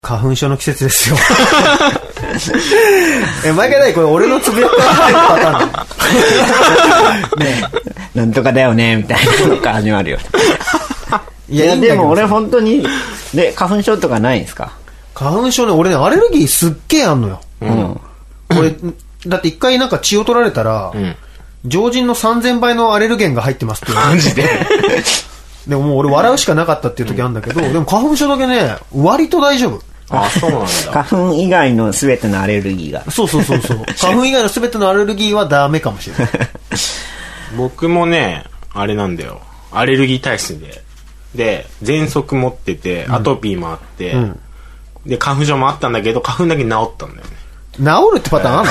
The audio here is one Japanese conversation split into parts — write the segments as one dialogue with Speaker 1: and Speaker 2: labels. Speaker 1: 花粉症の季節ですよ。 え、毎回ないこれ俺のつぶやきパターンだ
Speaker 2: なんとかだよね、みたいなのが始まるよ。
Speaker 1: い
Speaker 2: いや、
Speaker 1: いいんだ
Speaker 2: で
Speaker 1: けど
Speaker 2: も俺本当に、で、花粉症とかないんですか
Speaker 1: 花粉症ね、俺ね、アレルギーすっげえあんのよ。
Speaker 2: うん。
Speaker 1: 俺、だって一回なんか血を取られたら、常人の3000倍のアレルゲンが入ってますって言われて
Speaker 2: マジで
Speaker 1: でももう俺笑うしかなかったっていう時あるんだけど、でも花粉症だけね、割と大丈夫。
Speaker 3: あ、そうなんだ。
Speaker 2: 花粉以外の全てのアレルギーが。
Speaker 1: そうそうそうそう。 花粉以外の全てのアレルギーはダメかもしれない。
Speaker 3: 僕もね、あれなんだよ。アレルギー体質で。で、喘息持ってて、アトピーもあって、
Speaker 1: うん
Speaker 3: で、花粉症もあったんだけど、花粉だけ治ったんだよね。
Speaker 1: 治るってパターンあん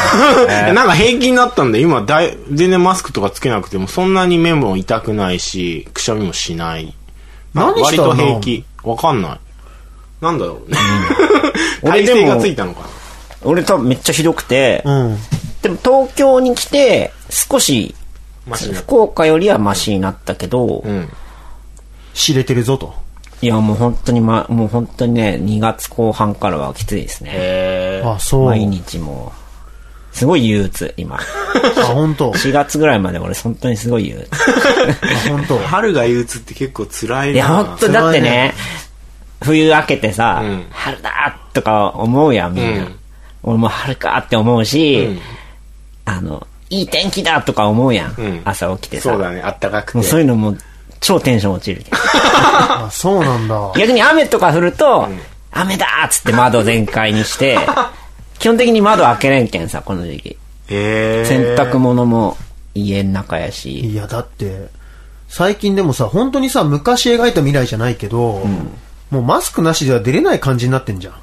Speaker 1: の
Speaker 3: なんか平気になったんで、今だい、全然マスクとかつけなくても、そんなに目も痛くないし、くしゃみもしない。
Speaker 1: 何した
Speaker 3: 割
Speaker 1: ら
Speaker 3: と
Speaker 1: 治んの
Speaker 3: 平気。わかんない。なんだろうね。
Speaker 2: 俺で
Speaker 3: 体
Speaker 2: も
Speaker 3: 勢がついたのかな。
Speaker 2: 俺多分めっちゃひどくて、
Speaker 1: うん。
Speaker 2: でも東京に来て、少し、
Speaker 3: マシになった
Speaker 2: 福岡よりはマシになったけど、
Speaker 3: うん。
Speaker 1: 知れてるぞと。
Speaker 2: いや、もう本当にま、もう本当にね、2月後半からはきついですね。
Speaker 3: え
Speaker 1: あ、そう。あ
Speaker 2: 毎、日もう、すごい憂鬱、今。
Speaker 1: 本当。
Speaker 2: 4月ぐらいまで俺本当にすごい憂鬱。
Speaker 1: あ、本当
Speaker 3: ー、。春が憂鬱って結構辛いな。
Speaker 2: いや、本当
Speaker 1: それは
Speaker 2: だってね、
Speaker 1: ね
Speaker 2: 冬明けてさ、
Speaker 3: うん
Speaker 2: 春だとか思うやん、みんな。
Speaker 3: うん
Speaker 2: 俺も春かって思うし、
Speaker 3: うん
Speaker 2: あの、いい天気だとか思うやん。
Speaker 3: うん
Speaker 2: 朝起きてさ。
Speaker 3: そうだね、あったかくて。
Speaker 2: もうそういうのもう超テンション落ち る。
Speaker 1: あ、そうなんだ。
Speaker 2: 逆に雨とか降ると、雨だーっつって窓全開に して、基本的に窓開けれんけんさ、この時期。
Speaker 3: え
Speaker 2: 洗
Speaker 3: ー、
Speaker 2: 濯物も家の中やし。
Speaker 1: いや、だって、最近でもさ、本当にさ、昔描いた未来じゃないけど、もうマスクなしでは出れない感じになってんじゃん。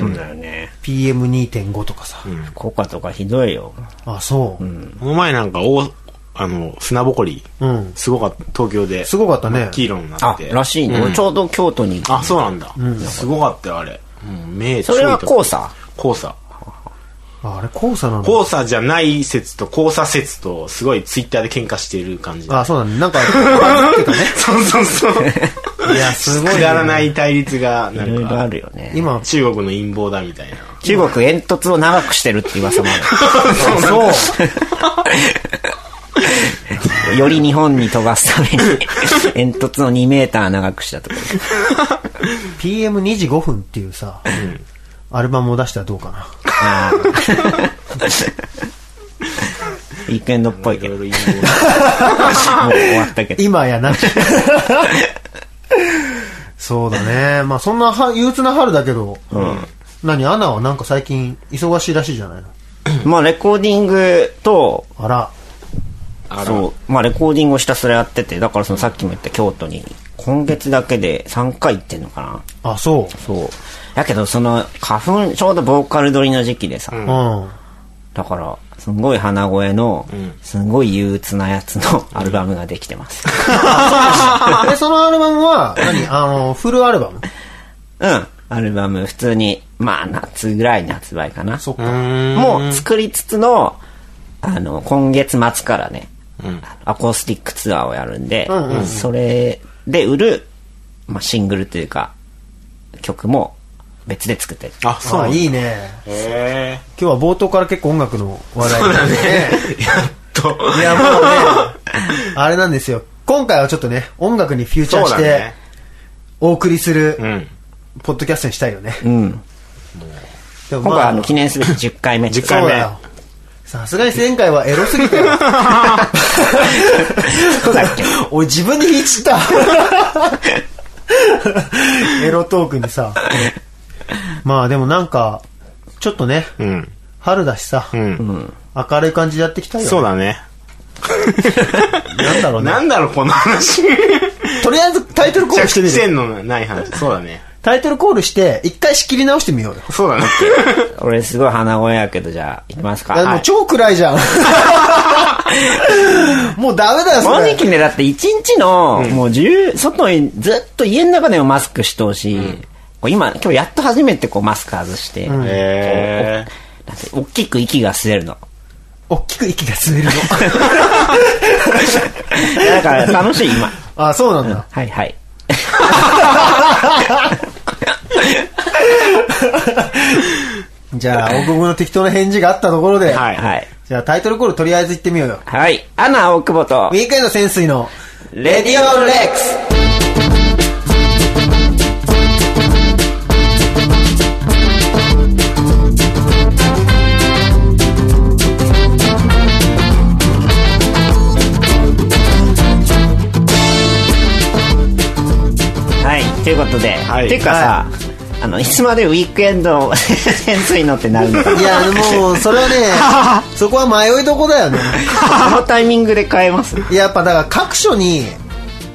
Speaker 2: そうだよね。
Speaker 1: PM2.5 とかさ。
Speaker 2: 福岡とかひどいよ。
Speaker 1: あ、そう。う
Speaker 3: この前なんか、おあの、砂ぼこり、
Speaker 1: ん。
Speaker 3: すごかった、東京で。
Speaker 1: すごかったね。
Speaker 3: 黄色になっ
Speaker 2: あ
Speaker 3: て。、
Speaker 2: らしいね。
Speaker 3: うん
Speaker 2: 俺ちょうど京都に行く
Speaker 3: あ、そうなんだ。すごかったよ、あれ。うん、目
Speaker 2: それは
Speaker 3: 超痛く
Speaker 2: 黄砂
Speaker 3: 黄砂。
Speaker 1: ああれ、黄砂なの
Speaker 3: 交差じゃない説と交差説とすごいツイッターで喧嘩してる感じ。
Speaker 1: あ、そうだね。なん か、バズってたね。
Speaker 3: そうそうそう。
Speaker 1: いや、すごい、
Speaker 3: くだらない対立が、ない
Speaker 2: ろい
Speaker 3: ん
Speaker 2: ろ
Speaker 3: か、
Speaker 2: あるよね。
Speaker 1: 今、
Speaker 3: 中国の陰謀だみたいな。
Speaker 2: 中国煙突を長くしてるって噂もある。そう。より日本に飛ばすために、煙突を2メーター長くしたとか。
Speaker 1: PM25 分っていうさ、アルバムを出したらどうかな。
Speaker 2: あーウィークエンドっぽい
Speaker 3: い
Speaker 2: けど、も
Speaker 3: ろ
Speaker 2: う
Speaker 3: いろ陰謀だ。
Speaker 2: 終わったけど。
Speaker 1: 今やな くそうだね。まあそんなは憂鬱な春だけど、何、アナはなんか最近忙しいらしいじゃないの。
Speaker 2: まあ、レコーディングと、
Speaker 1: あら、
Speaker 3: あら
Speaker 2: そう、まあ、レコーディングをひたすらやってて、だからそのさっきも言った京都に、今月だけで3回行ってんのかな。
Speaker 1: あ、そ
Speaker 2: そう。だけど、その、花粉、ちょうどボーカル撮りの時期でさ、
Speaker 1: う。 うん。
Speaker 2: だから、すんごい鼻声の、すんごい憂鬱なやつの アルバムができてます。
Speaker 1: で、そのアルバムは、何あの、フルアルバム。
Speaker 2: うん。アルバム、普通に、まあ、夏ぐらいに発売かな。
Speaker 1: そっ
Speaker 3: う
Speaker 1: か。
Speaker 3: ーん。
Speaker 2: もう作りつつの、あの、今月末からね、アコースティックツアーをやるんで、それで売る、まあ、シングルというか、曲も別で作ってる。
Speaker 3: あ、そう
Speaker 1: あ、
Speaker 3: なんだ。
Speaker 1: いいね。
Speaker 3: へ
Speaker 1: 今日は冒頭から結構音楽の話題だね。
Speaker 3: ー やっと。
Speaker 1: いや、もう ね、あれなんですよ。今回はちょっとね、音楽にフューチャー
Speaker 3: そう
Speaker 1: し
Speaker 3: だ
Speaker 1: て
Speaker 3: ね、。
Speaker 1: お送りする
Speaker 3: う、ん。
Speaker 1: ポッドキャストにしたいよね。
Speaker 2: うん。
Speaker 1: でも
Speaker 2: 今
Speaker 1: ま
Speaker 2: 回あの、記念すべき10回目。
Speaker 3: 10
Speaker 1: そ
Speaker 3: 回
Speaker 1: う
Speaker 3: 目
Speaker 1: だよ。さすがに前回はエロすぎたよ。
Speaker 2: そうだっけ
Speaker 1: おい、自分で引いちった。エロトークにさ。まあでもなんか、ちょっとね、
Speaker 3: うん。
Speaker 1: 春だしさ、
Speaker 3: うん。
Speaker 1: 明るい感じでやっていきたいよ。
Speaker 3: そう。だね。
Speaker 1: なんだろうね
Speaker 3: な。んだろう、この話。
Speaker 1: とりあえずタイトルコールしてみる。
Speaker 3: 線のない話。そうだね。
Speaker 1: タイトルコールして、一回仕切り直してみようよ。
Speaker 3: そうだね。
Speaker 2: 俺すごい鼻声やけど、じゃあ、行きますか。
Speaker 1: あも
Speaker 2: は
Speaker 1: う
Speaker 2: い。
Speaker 1: 超暗いじゃん。もうダメだよ、そ
Speaker 2: 正
Speaker 1: れ。
Speaker 2: 直ね、だって一日の、もう10、外にずっと家の中でもマスクしとうし、こう今、今日やっと初めてこうマスク外して、
Speaker 3: へー
Speaker 2: だって大きく息が吸える の。
Speaker 1: おっきく息が吸えるの。
Speaker 2: いやだから楽しい、今。
Speaker 1: あ、そうなんだ。
Speaker 2: はいはい。
Speaker 1: じゃあ、大久保の適当な返事があったところで、
Speaker 3: はい
Speaker 2: はい。
Speaker 1: じゃあタイトルコールとりあえず行ってみようよ。
Speaker 2: はい。アナ・大久保と
Speaker 1: ウ、ィークエンド潜水の、
Speaker 2: レディオレックスはい、ということで、
Speaker 3: はい
Speaker 2: っていうかさ、あのいつまでウィークエンド潜水のってなるのか
Speaker 1: いや、 もう、それはね、そこは迷いどこだよね。
Speaker 2: なこのタイミングで変えます
Speaker 1: やっぱだから各所に、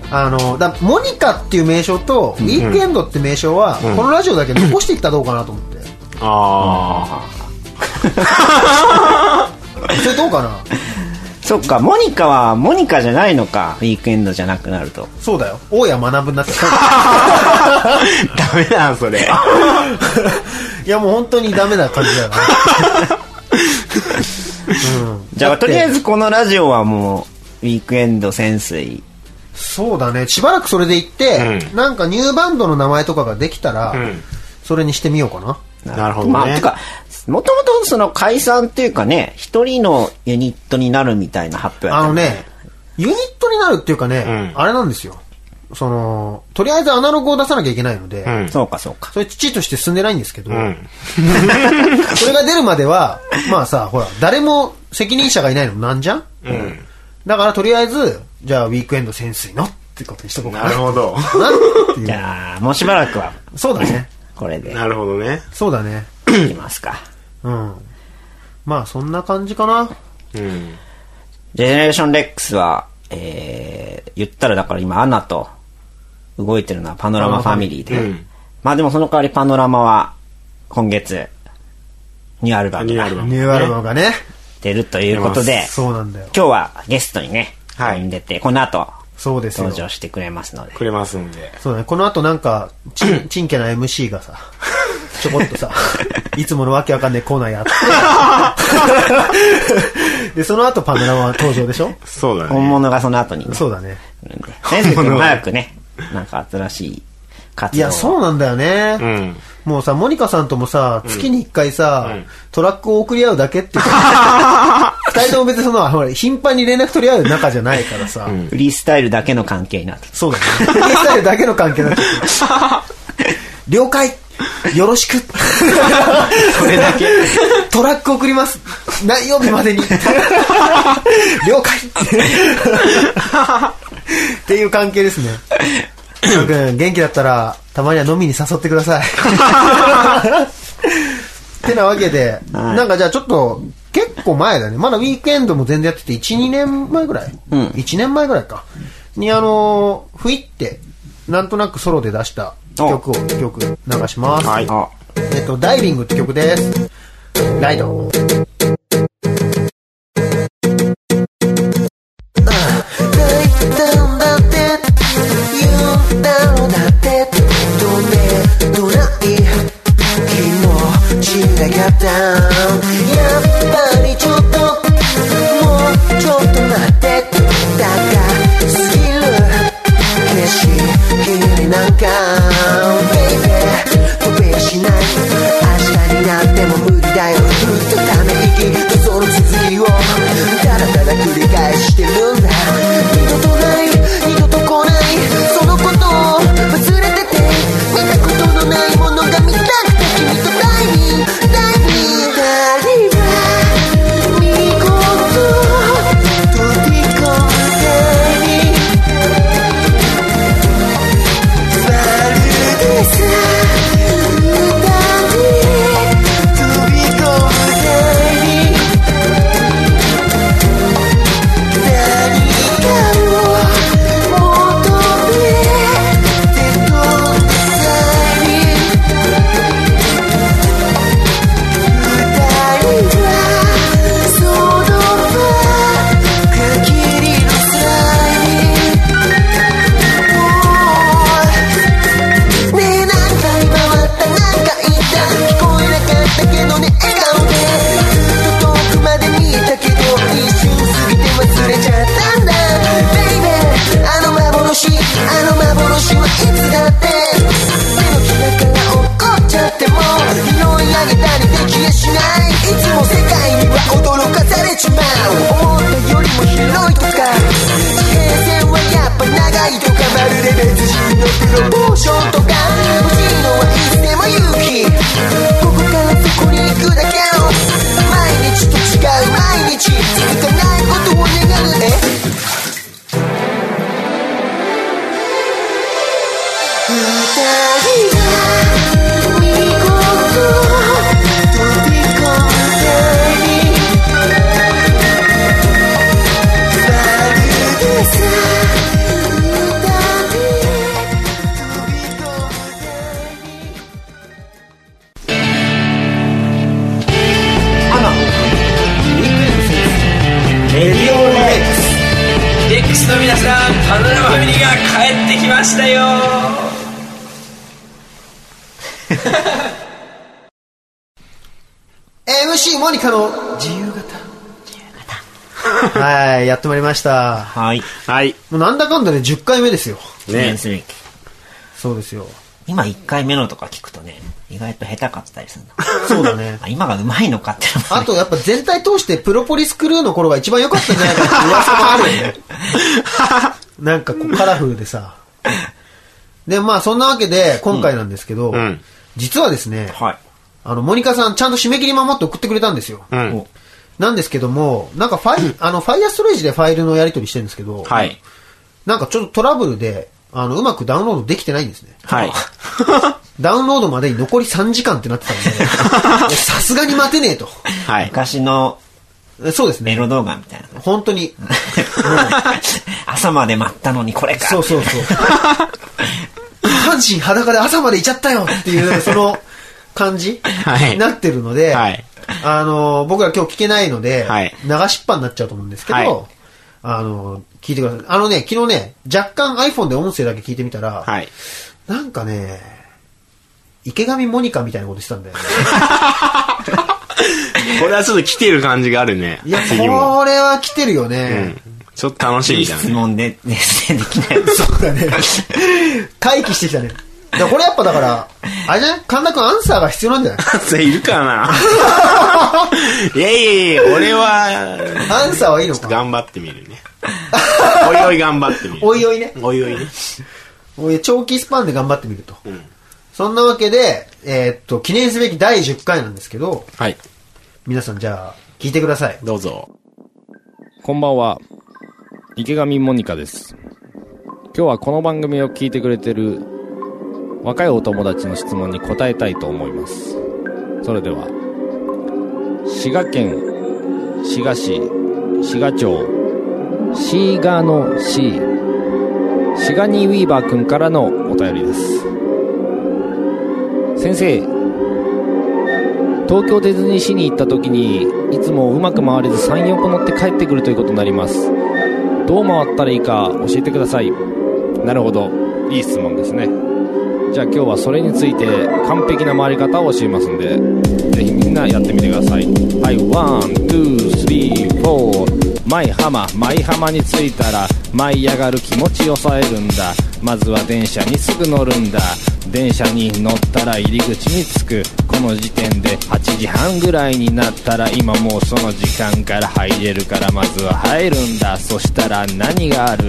Speaker 1: あの、だモニカっていう名称と、ウィークエンドって名称は、このラジオだけ残していったらどうかなと思 って。
Speaker 3: あ
Speaker 1: それどうか な
Speaker 2: そっかモニカはモニカじゃないのかウィークエンドじゃなくなると
Speaker 1: そうだよ。大谷学ぶになってた。
Speaker 3: あ。ダメだな、それ。
Speaker 1: いや、もう本当にダメな感じだよね。
Speaker 2: じゃ
Speaker 1: だ
Speaker 2: あ
Speaker 1: って
Speaker 2: とりあえずこのラジオはもうウィークエンド潜水
Speaker 1: そうだね。しばらくそれで行って、
Speaker 3: う
Speaker 1: なんかニューバンドの名前とかができたら、
Speaker 3: ん
Speaker 1: それにしてみようかな。
Speaker 3: なるほどね
Speaker 2: まあてかもともとその解散っていうかね一人のユニットになるみたいな発表やった
Speaker 1: あの
Speaker 2: よ
Speaker 1: ね、ユニットになるっていうかね、
Speaker 3: うん
Speaker 1: あれなんですよ。その、とりあえずアナログを出さなきゃいけないので、
Speaker 3: うん。
Speaker 2: そうかそうか
Speaker 1: それ父として進んでないんですけど、
Speaker 3: うん。
Speaker 1: それが出るまでは、まあさ、ほら、誰も責任者がいないのなんじゃん、
Speaker 3: うん。
Speaker 1: だからとりあえず、じゃあウィークエンド潜水のってことにしとこうか
Speaker 3: な
Speaker 1: な。
Speaker 3: るほど。
Speaker 1: なってい
Speaker 2: じ
Speaker 1: う。
Speaker 2: ゃあもうしばらくは
Speaker 1: そうだね。
Speaker 2: これ で
Speaker 3: なるほどね。
Speaker 1: そうだね。
Speaker 2: いきますか
Speaker 1: うん。まあそんな感じかな。
Speaker 3: うん。
Speaker 2: ジェネレーションレックスはえー、言ったらだから今アナと動いてるのはパノラマファミリーで、
Speaker 3: うん
Speaker 2: まあでもその代わりパノラマは今月ニューアルバム
Speaker 3: ニュー
Speaker 2: が
Speaker 3: アルバム。
Speaker 1: ニューアルバムがね。
Speaker 2: 出るということ
Speaker 3: 出
Speaker 2: で
Speaker 3: ま
Speaker 1: そうなんだよ。
Speaker 2: 今日はゲストにね、
Speaker 3: はい
Speaker 2: 呼んでて、この後、
Speaker 1: そうですよ
Speaker 2: 登。場してくれますので。
Speaker 3: くれますんで。
Speaker 1: そうだね。この後なんか、ちん、ちんけな MC がさ、ちょこっとさ、いつものわけわかんないコーナーやって。で、その後パノラマ登場でしょ
Speaker 3: そうだ
Speaker 2: 本
Speaker 3: ね。
Speaker 2: 物がその後に、ね、
Speaker 1: そうだね。
Speaker 2: 来るんで。先生君も早くね、なんか新しい活
Speaker 1: い
Speaker 2: 動を
Speaker 1: や、そうなんだよね。
Speaker 3: うん。
Speaker 1: もうさ、モニカさんともさ、月に一回さ、トラックを送り合うだけっていう。二人とも別にその、ほら、頻繁に連絡取り合う仲じゃないからさ。
Speaker 2: フリースタイルだけの関係になって。
Speaker 1: そうだね。フリースタイルだけの関係だ った。了解よろしくそれだけ。トラック送ります何曜日までに了解っていう関係ですね。翔くん、元気だったら、たまには飲みに誘ってください。ってなわけで、なんかじゃあちょっと、結構前だね。まだウィークエンドも全然やってて、1、2年前ぐらい、
Speaker 2: ん
Speaker 1: ?1 年前ぐらいか。に、あのー、ふいって、なんとなくソロで出した曲を、曲流します。
Speaker 3: はい。
Speaker 2: あ
Speaker 1: えっと、ダイビングって曲です。ライド。
Speaker 4: 泣いたんだって言ったのだってどれどない気持ちだったやっぱりちょっともうちょっと待って高すぎる景色になんか Baby 飛べしない明日になっても無理だよずっとため息とその続きをただただ繰り返してるんだ二度とない二度と来ないそのことを忘れてて見たことのないものが見たくて君とダイビングダイビングダイビング
Speaker 5: 皆さんパンドラファミリーが帰ってきましたよ
Speaker 1: ー MC モニカの自由形。 はい、やってまいりました。
Speaker 2: はい。
Speaker 3: はい。
Speaker 1: もうなんだかんだで10回目ですよ。
Speaker 2: 記念すべき。
Speaker 1: そうですよ。
Speaker 2: 今1回目のとか聞くとね、意外と下手かったりするの。
Speaker 1: そうだね。
Speaker 2: あ今が上手いのかってのも
Speaker 1: あとやっぱ全体通してプロポリスクルーの頃が一番良かったんじゃないかって噂もあるよね。 なんかこうカラフルでさ。で、まあそんなわけで今回なんですけど、
Speaker 3: んうん
Speaker 1: 実はですね、
Speaker 2: はい。
Speaker 1: あの、モニカさんちゃんと締め切り守って送ってくれたんですよ。
Speaker 3: うん。
Speaker 2: お
Speaker 1: なんですけども、なんかファイ、あの、ファイアストレージでファイルのやり取りしてるんですけど、
Speaker 3: はい。
Speaker 1: なんかちょっとトラブルで、あの、うまくダウンロードできてないんですね。
Speaker 3: はい。
Speaker 1: ダウンロードまでに残り3時間ってなってたん で、いやさすがに待てねえと。
Speaker 3: はい。
Speaker 2: 昔の
Speaker 1: えそうですね。
Speaker 2: メロ動画みたいな。
Speaker 1: 本当に。
Speaker 2: 朝まで待ったのにこれか。
Speaker 1: そうそうそう。半身裸で朝までいちゃったよって いう、その感じ、
Speaker 3: はい
Speaker 1: になってるので、
Speaker 3: はい
Speaker 1: あの、僕ら今日聞けないので、
Speaker 3: はい
Speaker 1: 流しっぱになっちゃうと思うんですけど、
Speaker 3: はい
Speaker 1: あの、聞いてください。あのね、昨日ね、若干 iPhone で音声だけ聞いてみたら、
Speaker 3: はい。
Speaker 1: なんかね、池上モニカみたいなことしてたんだ よね。
Speaker 3: これはちょっと来てる感じがあるね。
Speaker 1: いや、
Speaker 3: 次も。
Speaker 1: これは来てるよ
Speaker 3: う
Speaker 1: ね。
Speaker 3: ん。ちょっと楽し
Speaker 2: いい
Speaker 3: みだ
Speaker 2: 質
Speaker 3: ね。
Speaker 2: 問で、ね、できない。
Speaker 1: そうだね。 回帰してきたね。だからこれやっぱだから、あれじゃない神田君アンサーが必要なんじゃない
Speaker 3: それいるかないやいやいや、俺は、
Speaker 1: アンサーはいいのか。
Speaker 3: 頑張ってみるね。おいおい頑張ってみる。
Speaker 1: おいおいね。
Speaker 3: おいおいね。
Speaker 1: おい長期スパンで頑張ってみると。
Speaker 3: ん
Speaker 1: そんなわけで、えーっと、記念すべき第10回なんですけど、
Speaker 3: はい。
Speaker 1: 皆さんじゃあ、聞いてください。
Speaker 3: どうぞ。
Speaker 6: こんばんは。池上モニカです。今日はこの番組を聞いてくれてる若いお友達の質問に答えたいと思います。それでは、滋賀県、滋賀市、滋賀町、滋賀の市、滋賀にウィーバーくんからのお便りです。先生、東京ディズニーシーに行った時にいつもうまく回れず34個乗って帰ってくるということになりますどう回ったらいいか教えてくださいなるほどいい質問ですねじゃあ今日はそれについて完璧な回り方を教えますんでぜひみんなやってみてくださいはいワンツースリーフォー舞浜舞浜に着いたら舞い上がる気持ちを抑えるんだまずは電車にすぐ乗るんだ電車に乗ったら入り口に着くこの時点で8時半ぐらいになったら今もうその時間から入れるからまずは入るんだそしたら何がある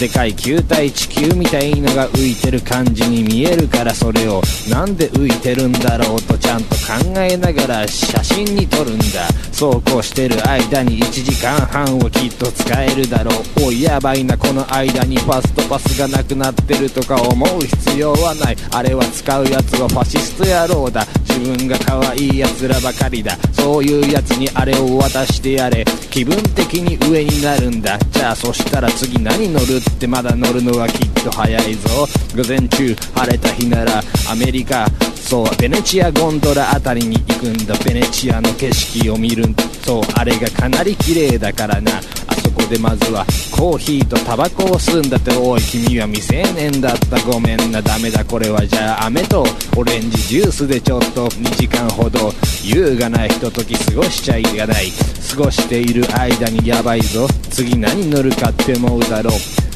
Speaker 6: でかい球体地球みたいのが浮いてる感じに見えるからそれをなんで浮いてるんだろうとちゃんと考えながら写真に撮るんだそうこうしてる間に1時間半をきっと使えるだろうおいやばいなこの間にファストパスがなくなってるとか思う必要はないあれは使うやつはファシスト野郎だ自分が可愛いやつらばかりだそういうやつにあれを渡してやれ気分的に上になるんだじゃあそしたら次何乗るってまだ乗るのはきっと早いぞ午前中晴れた日ならアメリカそうベネチアゴンドラあたりに行くんだベネチアの景色を見るんだそうあれがかなり綺麗だからなあそこでまずはコーヒーとタバコを吸うんだっておい君は未成年だったごめんなダメだこれはじゃあ飴とオレンジジュースでちょっと2時間ほど優雅なひととき過ごしちゃいがない過ごしている間にやばいぞ次何乗るかって思うだろう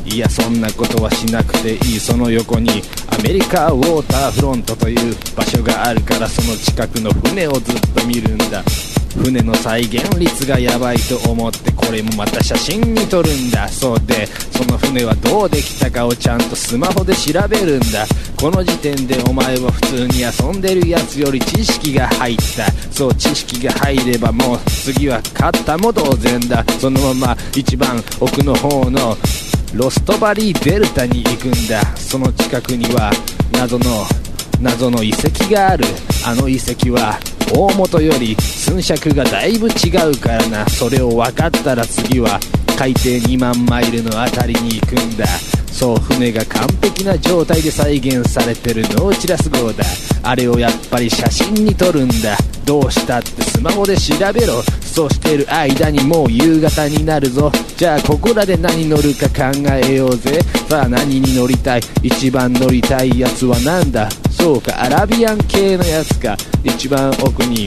Speaker 6: いやそんなことはしなくていいその横にアメリカウォーターフロントという場所があるからその近くの船をずっと見るんだ船の再現率がやばいと思ってこれもまた写真に撮るんだそうでその船はどうできたかをちゃんとスマホで調べるんだこの時点でお前は普通に遊んでるやつより知識が入ったそう知識が入ればもう次は勝ったも同然だそのまま一番奥の方のロストバリーデルタに行くんだその近くには謎の謎の遺跡があるあの遺跡は大元より寸尺がだいぶ違うからなそれを分かったら次は海底2万マイルのあたりに行くんだそう船が完璧な状態で再現されてるノーチラス号だあれをやっぱり写真に撮るんだどうしたってスマホで調べろそうしてる間にもう夕方になるぞじゃあここらで何乗るか考えようぜさあ何に乗りたい一番乗りたいやつは何だそうかアラビアン系のやつか一番奥に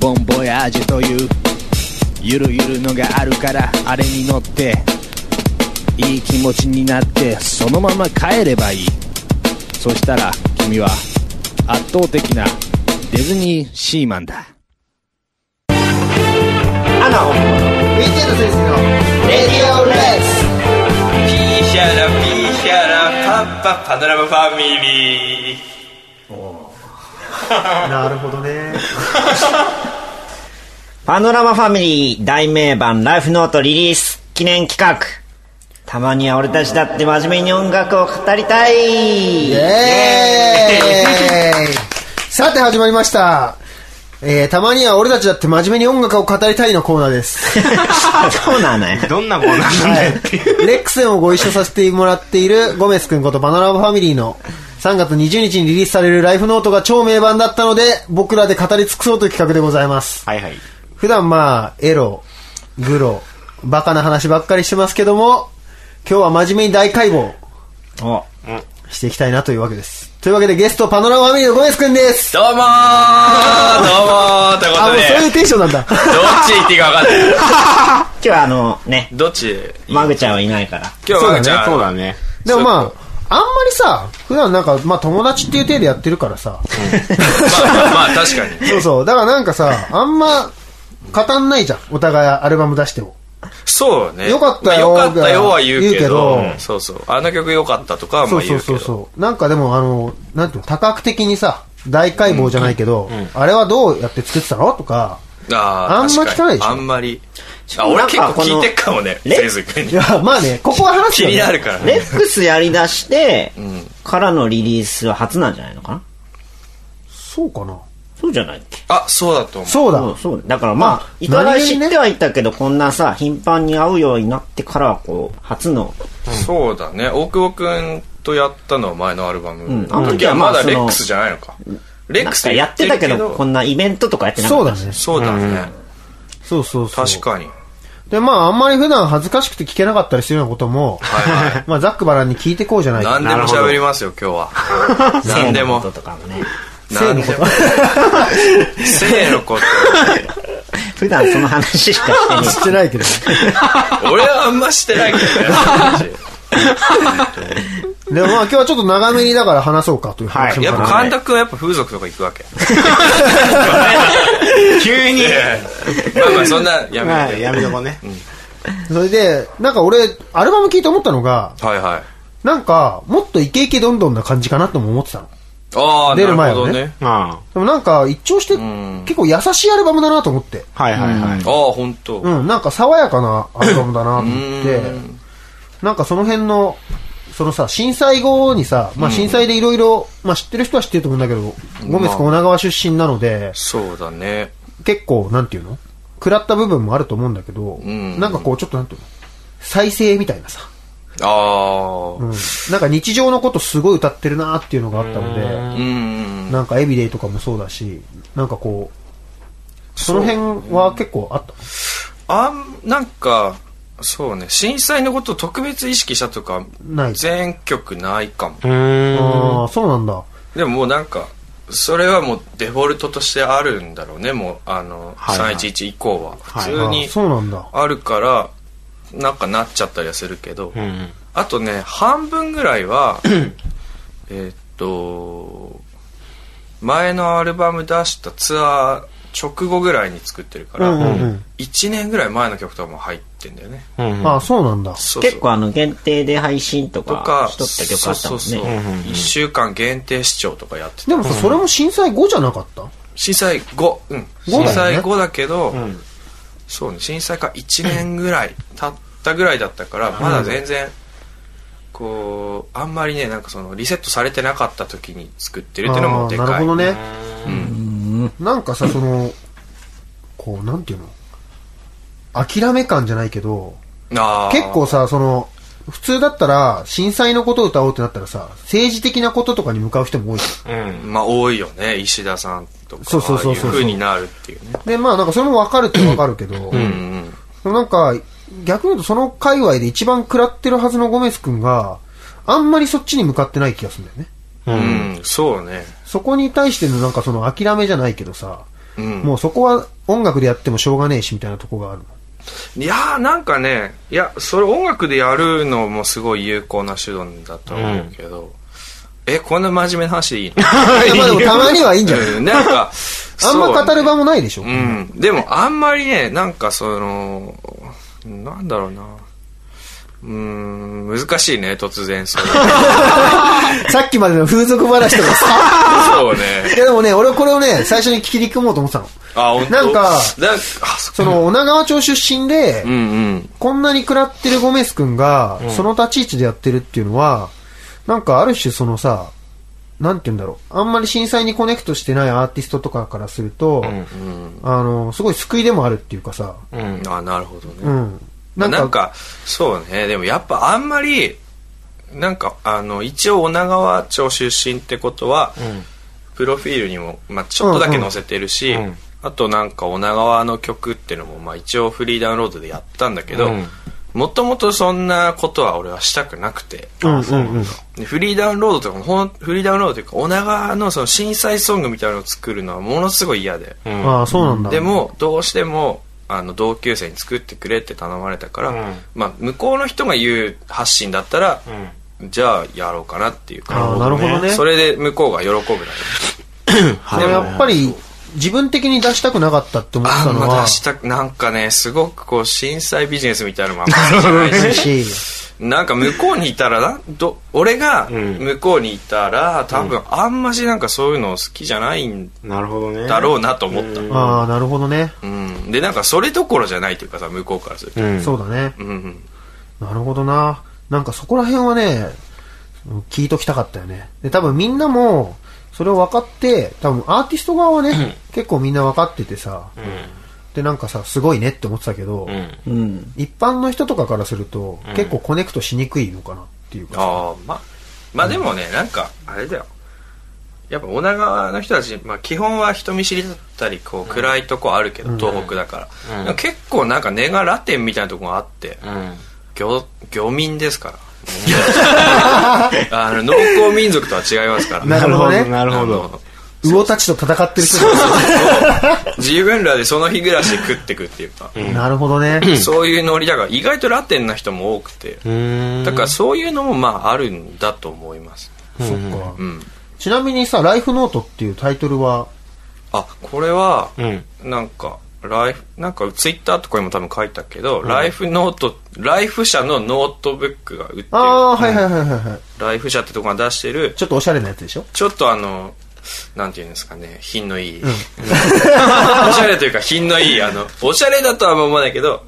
Speaker 6: ボンボヤージュというゆるゆるのがあるからあれに乗っていい気持ちになってそのまま帰ればいいそしたら君は圧倒的なディズニーシーマンだ
Speaker 1: アナをウィンチェンド先生のレディオレッス
Speaker 5: ピーシャラピーシャラパッパパノラマファミリー
Speaker 1: なるほどね
Speaker 2: パノラマファミリー大名盤ライフノートリリース記念企画。たまには俺たちだって真面目に音楽を語りたいイ
Speaker 1: イエーイさて始まりました、えー、たまには俺たちだって真面目に音楽を語りたいのコーナーです、
Speaker 2: そうなのよ。
Speaker 3: どんなコーナーなんだよっていう。
Speaker 1: レックセンをご一緒させてもらっているゴメス君ことバナナマファミリーの3月20日にリリースされるライフノートが超名盤だったので僕らで語り尽くそうという企画でございます
Speaker 3: はいはい。
Speaker 1: 普段まあエログロバカな話ばっかりしてますけども今日は真面目に大解剖
Speaker 2: お
Speaker 1: していきたいなというわけですというわけでゲストパノラマファミリーのゴメス君です
Speaker 5: どうもー どうもーとい
Speaker 1: あ、
Speaker 5: うこ
Speaker 1: も
Speaker 5: と
Speaker 1: う
Speaker 5: で
Speaker 1: そういうテンションなんだ。
Speaker 5: どっち行っていいか分か んない
Speaker 2: 今日はあのね、
Speaker 5: どっち
Speaker 2: マグちゃんはいないから。
Speaker 5: 今日はじゃあ
Speaker 3: そうだね。
Speaker 1: でもまあ、あんまりさ、普段なんか、まあ友達っていう体でやってるからさ。
Speaker 5: まあまあまあ確かに
Speaker 1: そうそう。だからなんかさ、あんま、語んないじゃん。お互いアルバム出しても。
Speaker 5: そうね
Speaker 1: よかったよ
Speaker 5: まあよかったよは言うけ
Speaker 1: 言
Speaker 5: ど
Speaker 1: うけど
Speaker 5: そうそうあの曲よかったとかは
Speaker 1: そう
Speaker 5: まあ
Speaker 1: そ
Speaker 5: 言
Speaker 1: う
Speaker 5: うけ
Speaker 1: そう
Speaker 5: ど
Speaker 1: そう。なんかでもあの、なんていうの、多角的にさ、大解剖じゃないけど、あれはどうやって作ってたのとか、
Speaker 5: あ
Speaker 1: あん
Speaker 5: ー
Speaker 1: ま
Speaker 5: 確
Speaker 1: 聞かないでしょ
Speaker 5: あんまりあ
Speaker 2: ょ
Speaker 5: 俺
Speaker 2: なん
Speaker 5: 結
Speaker 2: か
Speaker 5: 構聞いてっかもね
Speaker 2: この
Speaker 5: せいずくんに
Speaker 1: いや、まあね、ここは話す
Speaker 5: 気
Speaker 1: よ、ね。
Speaker 5: になるからね
Speaker 2: レックスやりだして、からのリリースは初なんじゃないのかな
Speaker 1: そうかな。
Speaker 2: そうじゃないっけ
Speaker 5: あそうだと思う
Speaker 1: そうだ。
Speaker 2: そうそうだからまあ、いただ知ってはいたけど、こんなさ、頻繁に会うようになってからは、こう、初の、
Speaker 5: そうだね大久保くんとやったのは前のアルバム、
Speaker 2: うん
Speaker 5: あの時はまだ
Speaker 2: あの時
Speaker 5: レ
Speaker 2: は
Speaker 5: ッ
Speaker 2: まあその
Speaker 5: クスじゃないのかレッ
Speaker 2: なん
Speaker 5: クス
Speaker 2: かやってたけど、こんなイベントとかやってなか
Speaker 1: そ
Speaker 2: っ
Speaker 1: う
Speaker 2: た
Speaker 1: だ。ね。
Speaker 5: そうだね、
Speaker 1: そうそうそう。
Speaker 5: 確かに
Speaker 1: で、まああんまり普段恥ずかしくて聞けなかったりするようなことも、
Speaker 5: はいは
Speaker 1: まあザックバランに聞いてこうじゃないか
Speaker 5: 何でも喋りますよ今日は何でも
Speaker 2: 性の こととかもね。
Speaker 5: 何でも性のこと
Speaker 2: 普段その話しかしてね
Speaker 1: してないけどね。
Speaker 5: 俺はあんましてないけどね
Speaker 1: でもまあ今日はちょっと長めにだから話そうかという話も
Speaker 5: やっぱ
Speaker 1: ある
Speaker 5: 神田君はやっぱ風俗とか行くわけ
Speaker 3: 急に。
Speaker 5: まあまあそんなや
Speaker 3: まあ、
Speaker 5: めて、
Speaker 3: やめとこうね。
Speaker 1: それで、なんか俺、アルバム聞いて思ったのが、
Speaker 5: はいはい
Speaker 1: なんか、もっとイケイケどんどんな感じかなとも思ってたの。
Speaker 5: ああ
Speaker 1: 出る
Speaker 5: な
Speaker 1: 前
Speaker 5: るほ
Speaker 1: は
Speaker 5: ど
Speaker 1: ね
Speaker 5: ね
Speaker 3: あ
Speaker 1: でもなんか、一聴して、結構優しいアルバムだなと思って。
Speaker 3: あ。はいはいはい。
Speaker 5: ああ本当、
Speaker 1: うん、なんか爽やかなアルバムだなと思って、なんかその辺の、そのさ、震災後にさ、まあ震災でいろいろ、まあ知ってる人は知ってると思うんだけど、ゴメス君女川出身なので、
Speaker 5: そうだね
Speaker 1: 結構、なんていうの食らった部分もあると思うんだけど、
Speaker 5: ん
Speaker 1: なんかこう、ちょっとなんていうの再生みたいなさ、
Speaker 5: ああ
Speaker 1: うん、なんか日常のことすごい歌ってるなっていうのがあったので、
Speaker 5: うん
Speaker 1: なんかエビデイとかもそうだし、なんかこう、その辺は結構あった。
Speaker 5: あんなんかそうね震災のことを特別意識したとか
Speaker 1: ない。
Speaker 5: 全曲ないかも
Speaker 3: うーん。
Speaker 1: ああ、そうなんだ。
Speaker 5: でももうなんかそれはもうデフォルトとしてあるんだろうねもうあの
Speaker 3: はいはい
Speaker 5: 311以降は普
Speaker 1: あ
Speaker 5: 通
Speaker 1: ー
Speaker 5: に
Speaker 1: そうなんだ。
Speaker 5: あるからなんかなっちゃったりはするけど
Speaker 3: うん。
Speaker 5: あとね半分ぐらいはえーっと前のアルバム出したツアー直後ぐらいに作ってるか
Speaker 1: う
Speaker 5: ら、
Speaker 1: んうんうん。
Speaker 5: 1年ぐらい前の曲とかも入ってんだよね
Speaker 3: うん。
Speaker 1: ああ、そうなんだ。
Speaker 5: そうそう
Speaker 2: 結構あの、限定で配信と
Speaker 5: と
Speaker 2: か
Speaker 5: か
Speaker 2: しとった曲あったもん
Speaker 5: そうそうそう
Speaker 2: ね。
Speaker 5: 1週間限定視聴とかやってた
Speaker 1: でもさ、それも震災後じゃなかった
Speaker 5: 震災後うん
Speaker 1: だよ
Speaker 5: 震
Speaker 1: ね
Speaker 5: 災後だけど、
Speaker 3: ん
Speaker 5: そうね震災から1年ぐらい経ったぐらいだったからまだ全然こうあんまりねなんかそのリセットされてなかった時に作ってるっていうの
Speaker 1: あ
Speaker 5: も
Speaker 1: あ
Speaker 5: で
Speaker 1: ー、
Speaker 5: かい
Speaker 1: なるほどね。
Speaker 5: うん
Speaker 1: なんかさ、その、こう、なんていうの諦め感じゃないけど、
Speaker 5: うあー
Speaker 1: 結構さ、その、普通だったら、震災のことを歌おうってなったらさ、政治的なこととかに向かう人も多いじゃ
Speaker 3: うん。
Speaker 5: まあ多いよね石田さんとか
Speaker 1: そうそうそうそう
Speaker 5: ああいう風になるっていうね
Speaker 1: ん。で、まあなんかそれもわかる ってわかるけど、
Speaker 5: うん
Speaker 1: なんか、逆に言うとその界隈で一番食らってるはずのゴメス君が、あんまりそっちに向かってない気がするんだよね。
Speaker 5: うん、うん、そうね
Speaker 1: そこに対してのなんかその諦めじゃないけどさ、
Speaker 5: うん
Speaker 1: もうそこは音楽でやってもしょうがねえしみたいなとこがある の。
Speaker 5: いやーなんかねいやそれ音楽でやるのもすごい有効な手段だと思うけど、えこんな真面目な話でいいの
Speaker 1: まあでもたまに はいいんじゃない
Speaker 5: うんなんか
Speaker 1: あんま語る場
Speaker 5: も
Speaker 1: もないでしょ。
Speaker 5: うんでもあんまりねなんかそのなんだろうなうーん難しいね突 然それ
Speaker 1: さっきまでの風俗話とかさ。
Speaker 5: そう
Speaker 1: い
Speaker 5: ね
Speaker 1: やでもね、俺これをね、最初に切り組もうと思ってたの。
Speaker 5: あ本当
Speaker 1: なんか
Speaker 5: なんあそ
Speaker 1: その、女川町出身で、
Speaker 5: うんうん
Speaker 1: こんなに食らってるゴメス君が、その立ち位置でやってるっていうのは、なんかある種そのさ、なんて言うんだろう。あんまり震災にコネクトしてないアーティストとかからすると、あの、すごい救いでもあるっていうかさ、
Speaker 3: うん。
Speaker 5: あなるほどね、
Speaker 1: うん。
Speaker 5: なんかそうねでもやっぱあんまりなんかあの一応女川町出身ってことは、プロフィールにも、まあ、ちょっとだけ載せてるし、
Speaker 3: うんうん
Speaker 5: あとなんか女川の曲ってのも、まあ、一応フリーダウンロードでやったんだけど
Speaker 3: うん
Speaker 5: もともとそんなことは俺はしたくなくて
Speaker 1: うんうんうん。
Speaker 5: でフリーダウンロードとかもほんフリーダウンロードというか女川のその震災ソングみたいなのを作るのはものすごい嫌で。
Speaker 3: うん。
Speaker 1: ああ、そうなんだ。
Speaker 5: で、もどうしてもあの同級生に作ってくれって頼まれたから、
Speaker 3: うん
Speaker 5: まあ、向こうの人が言う発信だったら、じゃあやろうかなっていう
Speaker 1: あ
Speaker 5: か
Speaker 1: あ、なるほどね。
Speaker 5: それで向こうが喜ぶだろう
Speaker 1: でもやっぱり、自分的に出したくなかったって思って
Speaker 5: あ
Speaker 1: た
Speaker 5: ん
Speaker 1: の
Speaker 5: ま
Speaker 1: は
Speaker 5: 出、したなんかねすごくこう震災ビジネスみたいなのもあんまりないし
Speaker 1: し、
Speaker 5: なんか向こうにいたらなど俺が
Speaker 3: ん
Speaker 5: 向こうにいたら多分あんましなんかそういうの好きじゃないん
Speaker 3: なるほどね。
Speaker 5: だろうなと思った、うん
Speaker 1: ああ、なるほどね。
Speaker 5: でなんかそれどころじゃないというかさ向こうからすると、
Speaker 3: うん。
Speaker 1: そうだね。
Speaker 5: うんうん、
Speaker 1: なるほどな。なんかそこら辺はね、うん聞いときたかったよね。で、多分みんなも、それを分かって、多分アーティスト側はね、結構みんな分かっててさ、で、なんかさ、すごいねって思ってたけど、
Speaker 3: うん。
Speaker 2: うん。
Speaker 1: 一般の人とかからすると、結構コネクトしにくいのかなっていうか。
Speaker 5: ああまあまあでもね、なんかあれだよやっぱ女川の人たち、まあ、基本は人見知りだったりこう暗いとこあるけど、東北だから、でも結構なんか根がラテンみたいなとこがあって、
Speaker 3: うん。
Speaker 5: 漁漁民ですからあの農耕民族とは違いますから
Speaker 1: なるほどね
Speaker 3: なるほど
Speaker 5: あの。
Speaker 1: 魚たちと戦ってる人た
Speaker 5: 自分らでその日暮らしで食ってくっていうか、
Speaker 1: ちなるほどね。
Speaker 5: そういうノリだから意外とラテンな人も多くて、
Speaker 3: うん。
Speaker 5: だからそういうのもまああるんだと思います、
Speaker 1: そっか
Speaker 5: う。ん、
Speaker 1: ちなみにさ、ライフノートっていうタイトルは、
Speaker 5: あこれは、
Speaker 3: うん。
Speaker 5: なんか、ライフ、なんかツイッターとかにも多分書いたけど、ライフノート、ライフ社のノートブックが売ってる。
Speaker 1: ああ、はいはいはいはいはい。
Speaker 5: ライフ社ってとこが出してる、
Speaker 1: ちょっとおしゃれなやつでしょ
Speaker 5: ちょっとあの、なんていうんですかね、品の いい。おしゃれというか品のいい、あの、おしゃれだとは思わないけど、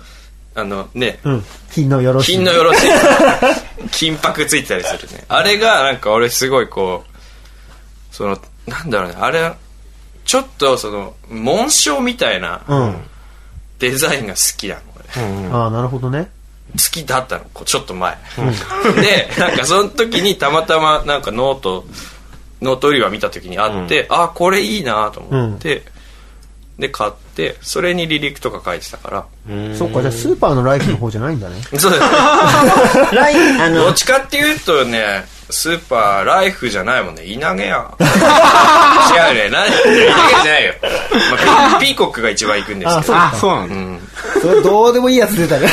Speaker 5: あのね、
Speaker 1: うん。品のよろしい。
Speaker 5: 品のよろしい金箔ついてたりするねあれがなんか俺すごいこうそのなんだろうねあれちょっとその紋章みたいな
Speaker 1: うん。
Speaker 5: デザインが好きなの俺
Speaker 1: ああ、なるほどね。
Speaker 5: 好きだったのこうちょっと前、でなんかその時にたまたまなんかノートノート売り場見た時にあって、あこれいいなと思って、で買ってそれに離陸とか書いてたから、
Speaker 1: そっか、じゃあスーパーのライフの方じゃないんだね。
Speaker 5: そうですね
Speaker 2: ライン、あ
Speaker 5: ど
Speaker 2: の
Speaker 5: っ、ちかっていうとね、スーパー、ライフじゃないもんね。稲毛や。違うね。なん稲毛じゃないよ。まあ、ピピーコックが一番行くんです
Speaker 1: あ、
Speaker 5: け
Speaker 1: そ
Speaker 5: ど
Speaker 1: う。
Speaker 3: あ
Speaker 1: か、。
Speaker 3: そうなんだ。
Speaker 1: それどうでもいいやつ出たね。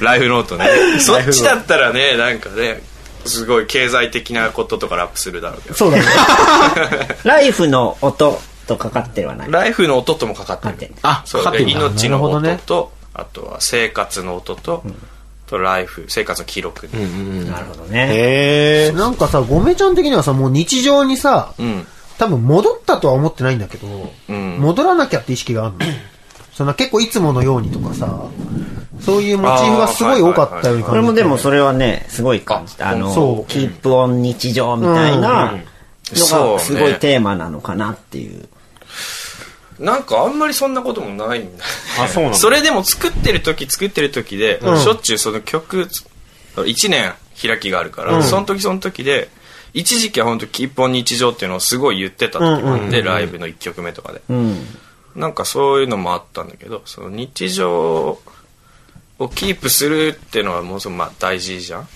Speaker 5: ライフノートね。そっちだったらね、なんかね、すごい経済的なこととかラップするだろうけど。
Speaker 1: そうだね。
Speaker 2: ライフの音とかかってるはない。
Speaker 5: ライフの音ともかか
Speaker 2: かっ
Speaker 5: ってて
Speaker 2: る
Speaker 5: る。
Speaker 3: あ
Speaker 5: そう
Speaker 3: かかってんだ
Speaker 5: で命
Speaker 1: なる
Speaker 5: の
Speaker 1: ほどね
Speaker 5: 音と、あとは生活の音と、とライフ、生活の記録ね、
Speaker 2: なるほどね。
Speaker 3: へえ。
Speaker 1: なんかさ、ごめちゃん的にはさ、もう日常にさ、
Speaker 5: ん
Speaker 1: 多分戻ったとは思ってないんだけど、
Speaker 5: ん
Speaker 1: 戻らなきゃって意識があるの。そんな結構いつものようにとかさ、そういうモチーフがすごい多かったように
Speaker 5: あー
Speaker 1: 感
Speaker 2: これ
Speaker 1: じて。
Speaker 2: もでもそれはね、すごい感じた。あ
Speaker 1: そ
Speaker 2: の
Speaker 1: う、
Speaker 2: キープオン日常みたいなのが、すごいテーマなのかなっていう。
Speaker 5: なんかあんまりそんなこともないんだ
Speaker 3: あそうなんだ
Speaker 5: それでも作ってる時作ってる時で、しょっちゅうその曲1年開きがあるから、その時その時で一時期は本当一本日常っていうのをすごい言ってた時もあって、ライブの1曲目とかで、なんかそういうのもあったんだけどその日常をキープするっていうのはものすごくまあ大事じゃん、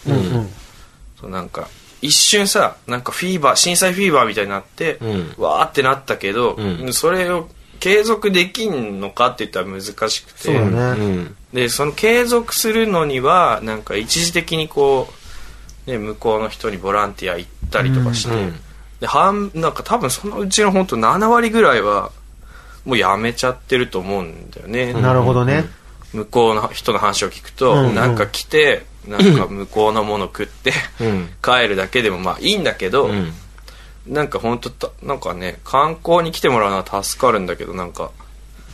Speaker 5: そうなんか一瞬さなんかフィーバー震災フィーバーみたいになって、
Speaker 3: ん
Speaker 5: わーってなったけど、
Speaker 3: ん
Speaker 5: それを継続できんのかって言ったら難しくて
Speaker 1: そうだ
Speaker 3: う
Speaker 1: ね。
Speaker 3: ん
Speaker 5: でその継続するのにはなんか一時的にこう、ね、向こうの人にボランティア行ったりとかして、
Speaker 3: うん
Speaker 5: で半なんか多分そのうちの本当7割ぐらいはもうやめちゃってると思うんだよね、
Speaker 1: なるほどね。
Speaker 5: 向こうの人の話を聞くと、
Speaker 1: うんうん
Speaker 5: なんか 来てなんか向こうのもの食って、
Speaker 3: うん
Speaker 5: 帰るだけでもまあいいんだけど、
Speaker 3: うん
Speaker 5: なんか本当たなんかね観光に来てもらうのは助かるんだけどなんか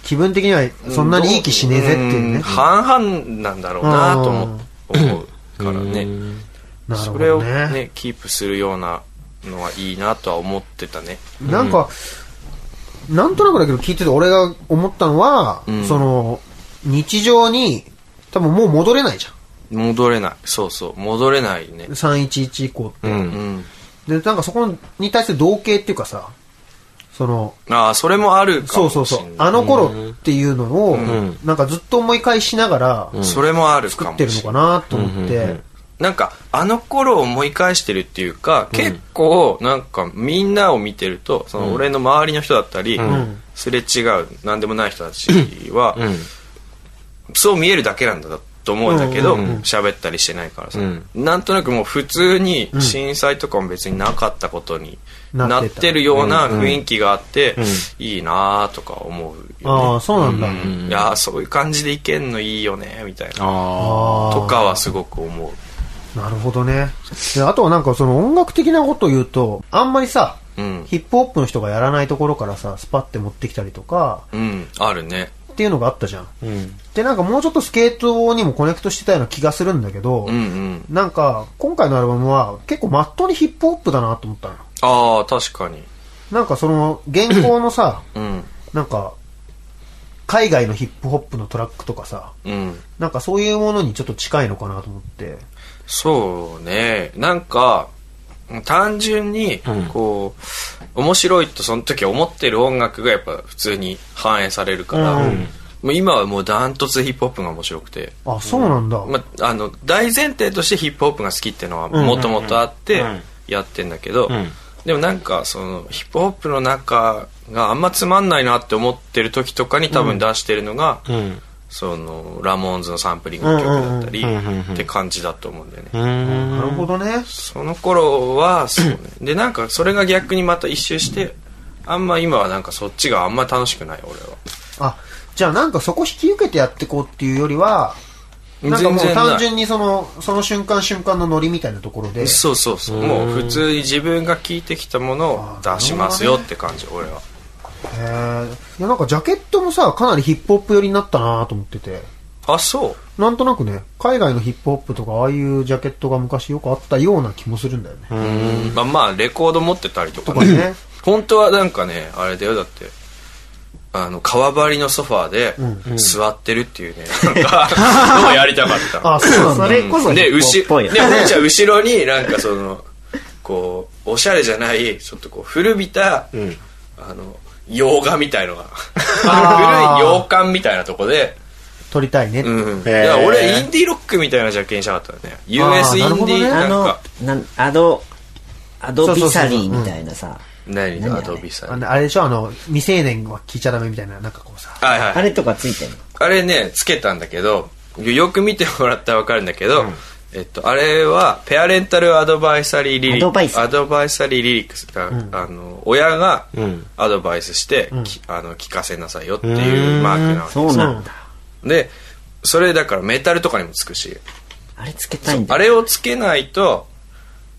Speaker 1: 気分的にはそんなにいい気しねえぜっていう
Speaker 5: うん
Speaker 1: ね。
Speaker 5: 半々なんだろうなと思思うからね
Speaker 1: なる
Speaker 5: そ
Speaker 1: ほ
Speaker 5: れを
Speaker 1: どね。
Speaker 5: ねキープするようなのはいいなとは思ってたね
Speaker 1: なんか、なんとなくだけど聞いてて俺が思ったのは
Speaker 5: ん、
Speaker 1: その、日常に、多分もう戻れないじゃ
Speaker 5: 戻れないそうそう戻れないね
Speaker 1: ん。311以降って。
Speaker 5: う
Speaker 3: うん
Speaker 5: ん
Speaker 1: で、なんかそこに対する同型っていうかさ、その、
Speaker 5: ああそれもあるか
Speaker 1: そう
Speaker 5: も
Speaker 1: そう
Speaker 5: し
Speaker 1: そ
Speaker 5: れ
Speaker 1: う、
Speaker 5: ない
Speaker 1: あの頃っていうのを
Speaker 3: ん、
Speaker 1: なんかずっと思い返しながら、
Speaker 5: それもあるか
Speaker 1: 作っ
Speaker 5: も
Speaker 1: てる
Speaker 5: し
Speaker 1: の
Speaker 5: れない
Speaker 1: かなと思っ
Speaker 3: うんうんう
Speaker 1: て
Speaker 3: ん、
Speaker 5: なんかあの頃を思い返してるっていうか、結構なんかみんなを見てるとその俺の周りの人だったり、
Speaker 1: ん
Speaker 5: すれ違う何でもない人たちは、
Speaker 3: うん
Speaker 5: そう見えるだけなんだと思うんだけど
Speaker 1: うんうんうん
Speaker 5: 喋、ったりしてないからさ、
Speaker 3: うん
Speaker 5: なんとなくもう普通に震災とかも別になかったことに
Speaker 1: な
Speaker 5: な
Speaker 1: っ
Speaker 5: って
Speaker 1: た
Speaker 5: てるような雰囲気があって、いいなとか思うよね、
Speaker 1: ああ、そうなんだ。
Speaker 5: いやーそういう感じでいけんのいいよねみたいな
Speaker 3: あ
Speaker 1: あー
Speaker 5: とかはすごく思う
Speaker 1: なるほどね。であとはなんかその音楽的なことを言うと、あんまりさ、
Speaker 5: うん
Speaker 1: ヒップホップの人がやらないところからさ、スパって持ってきたりとか、
Speaker 5: うんあるね
Speaker 1: っていうのがあったじゃん。
Speaker 3: あうん
Speaker 1: で、なんかもうちょっとスケートにもコネクトしてたような気がするんだけど、
Speaker 5: うんうん
Speaker 1: なんか今回のアルバムは結構まっとうにヒップホップだなと思ったのよ。
Speaker 5: ああ確かに
Speaker 1: なんかその現行のさ、
Speaker 5: うん
Speaker 1: なんか海外のヒップホップのトラックとかさ、
Speaker 5: うん
Speaker 1: なんかそういうものにちょっと近いのかなと思って。
Speaker 5: そうねなんか単純に
Speaker 3: うん
Speaker 5: こう、面白いとその時思ってる音楽がやっぱ普通に反映されるから、
Speaker 1: うん
Speaker 5: もう今はもうダントツヒップホップが面白くて、
Speaker 1: あ、そうなんだ。
Speaker 5: ま、あの大前提としてヒップホップが好きっていうのはもともとあって
Speaker 3: うん
Speaker 5: やってんだけど、
Speaker 3: うん
Speaker 5: でもなんかそのヒップホップの中があんまつまんないなって思ってる時とかに多分出してるのが、
Speaker 3: うん
Speaker 5: そのラモーンズのサンプリングの曲だったり
Speaker 3: うんうんうんうんうん
Speaker 5: って感じだと思うんだよね、
Speaker 3: うん
Speaker 1: なるほどね。
Speaker 5: その頃はそうねでなんかそれが逆にまた一周してあんま今はなんかそっちがあんま楽しくない俺は
Speaker 1: あ、じゃあなんかそこ引き受けてやってこうっていうよりは、なんかもう
Speaker 5: 全然ない
Speaker 1: 単純にその、その瞬間瞬間のノリみたいなところで、
Speaker 5: そうそうそうもう普通に自分が聞いてきたものを出しますよって感じ俺は
Speaker 1: へーいやなんかジャケットもさ、かなりヒップホップ寄りになったなと思ってて、
Speaker 5: あそう
Speaker 1: なんとなくね、海外のヒップホップとかああいうジャケットが昔よくあったような気もするんだよね。
Speaker 5: まあまあレコード持ってたりと
Speaker 1: と
Speaker 5: か
Speaker 1: か
Speaker 5: ね
Speaker 1: ね。
Speaker 5: 本当はなんかねあれだよだってあの川張りのソファーで座ってるっていうね、なんかのをやりたかったの
Speaker 1: あ、そうなんだ。
Speaker 2: それこそ
Speaker 5: で、
Speaker 2: ヒップホップっぽ
Speaker 5: 後
Speaker 2: い
Speaker 5: ろ、
Speaker 2: よ
Speaker 5: で、俺ちゃん後ろになんかその、こう、おしゃれじゃない、ちょっとこう、古びた、あの、洋画みたいのが、
Speaker 1: あー
Speaker 5: 古い洋館みたいなとこで、
Speaker 1: 撮りたいね。
Speaker 5: うん。
Speaker 3: へー
Speaker 5: だから俺、インディーロックみたいなジャケにしたかったのね。US イ
Speaker 1: な
Speaker 5: ンデ
Speaker 1: るほどね
Speaker 5: ィー、
Speaker 2: あ
Speaker 5: なん
Speaker 2: の
Speaker 5: か、、
Speaker 2: なんアド、アドビサ
Speaker 1: そうそう
Speaker 2: リ
Speaker 1: そう
Speaker 2: ー
Speaker 1: そう
Speaker 2: みたいなさ、
Speaker 5: 何
Speaker 2: 何あ
Speaker 5: ア
Speaker 2: れ
Speaker 5: ドビさ
Speaker 1: あ
Speaker 5: ん。
Speaker 1: のあれでしょあの、未成年は聞いちゃダメみたいな、なんかこうさ。
Speaker 5: はいはい
Speaker 2: あ。れとかついてるの
Speaker 5: あれね、つけたんだけど、よく見てもらったらわかるんだけど、えっと、あれは、ペアレンタルアドバイサリーリリ
Speaker 2: アドバイス
Speaker 5: アドバイサリーリリックスが、あの、親が
Speaker 3: ん
Speaker 5: アドバイスして、きあの、聞かせなさいよっていうマークなわけ
Speaker 2: そうなんだ。
Speaker 5: で、それだからメタルとかにもつくし、
Speaker 2: あれつけたいんだ。
Speaker 5: あれをつけないと、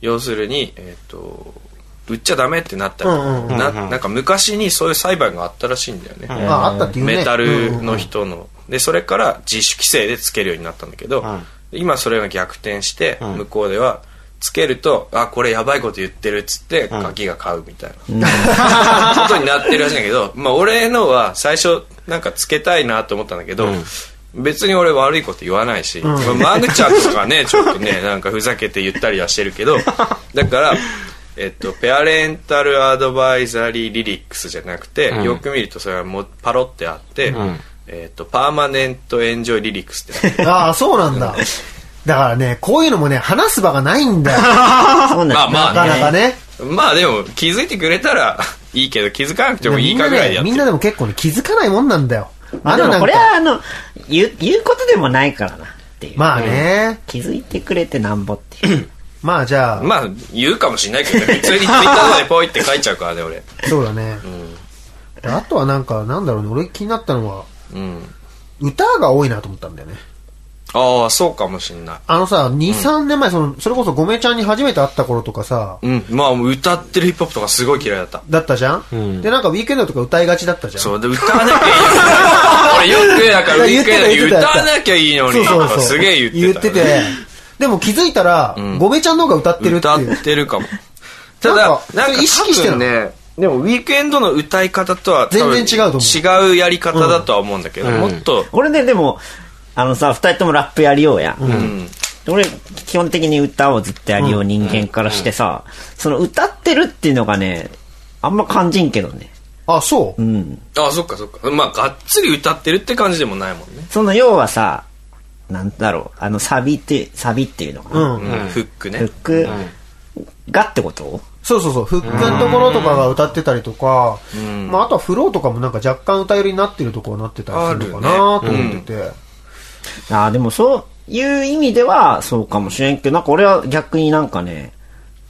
Speaker 5: 要するに、えっと、売っちゃダメってなったりとか、
Speaker 1: うんうん
Speaker 5: ななんか昔にそういう裁判があったらしいんだよね。
Speaker 1: あ、あったっていうね。
Speaker 5: メタル
Speaker 1: うんうん
Speaker 5: の人の、でそれから自主規制でつけるようになったんだけど、
Speaker 3: ん
Speaker 5: 今それが逆転して、向こうではつけるとあこれやばいこと言ってるっつって鍵が買うみたいな、ことになってるらしいんだけど、まあ、俺のは最初なんかつけたいなと思ったんだけど、別に俺悪いこと言わないし、まあ、マグちゃんとか ねちょっとねなんかふざけて言ったりはしてるけ どだから、えっと、ペアレンタルアドバイザリーリリックスじゃなくて、よく見るとそれはもうパロってあって、えっと、パーマネントエンジョイリリックスってなってる
Speaker 1: ああ、そうなんだ。だからね、こういうのもね、話す場がないんだよ。
Speaker 2: そうなんだ。
Speaker 5: まあ
Speaker 1: なかなかね。
Speaker 5: まあでも気づいてくれたらいいけど気づかなくてもいいかぐらいでやっ
Speaker 1: み
Speaker 5: て
Speaker 1: んな
Speaker 5: る
Speaker 1: でも結構ね、気づかないもんなんだよ。
Speaker 2: まあ
Speaker 1: あ
Speaker 2: で
Speaker 1: の
Speaker 2: も
Speaker 1: なん
Speaker 2: これ
Speaker 1: か、
Speaker 2: はあの、言う、言うことでもないからなっていう。
Speaker 1: まあね、
Speaker 2: 気づいてくれてなんぼっていう。
Speaker 1: まあじゃあ、
Speaker 5: まあ言うかもしれないけどね普通にツイッターとかでポイって書いちゃうからね俺
Speaker 1: そうだね。であとはなんか、なんだろうね、俺気になったのは、
Speaker 5: うん
Speaker 1: 歌が多いなと思ったんだよね。
Speaker 5: ああそうかもしれない
Speaker 1: あのさ、2、3年前、その、それこそごめちゃんに初めて会った頃とかさ、
Speaker 5: うんまあ歌ってるヒップホップとかすごい嫌いだった
Speaker 1: だったじゃん、で、なんかウィークエンドとか歌いがちだったじゃん
Speaker 5: そうで歌わなきゃいい のに俺よくなんかウィークエンドに歌わなきゃいいのにとかすげえ言ってた
Speaker 1: てでも気づいたら、ごめちゃんの方が歌ってるって
Speaker 5: 歌
Speaker 1: い
Speaker 5: っ
Speaker 1: う。
Speaker 5: てるかもただ
Speaker 1: なんか
Speaker 5: なん
Speaker 1: そ
Speaker 5: か
Speaker 1: れ意識して
Speaker 5: 多
Speaker 1: んの
Speaker 5: 分ねでもウィークエンドの歌い方とは多分
Speaker 1: 全然違うと
Speaker 5: 違うやり方だとは思うんだけど、もっと
Speaker 2: これね、でも、あのさ、二人ともラップやりようやん。俺、基本的に歌をずっとやりよう人間からしてさ、その歌ってるっていうのがね、あんま感じんけどね。
Speaker 1: あ、そう、
Speaker 2: うん。
Speaker 5: あそっかそっかまあがっつり歌ってるって感じでもないもんね、
Speaker 2: その要はさ、なんだろう、あのサビって、サビっていうのかな。
Speaker 1: うん。
Speaker 5: フックね
Speaker 2: フックがってこと
Speaker 1: そうそうそう。フックのところとかが歌ってたりとか、まあ、あとはフローとかもなんか若干歌寄りになってるところになってたりするのかなと思ってて。
Speaker 2: ああ、でもそういう意味ではそうかもしれんけど、なんか俺は逆になんかね、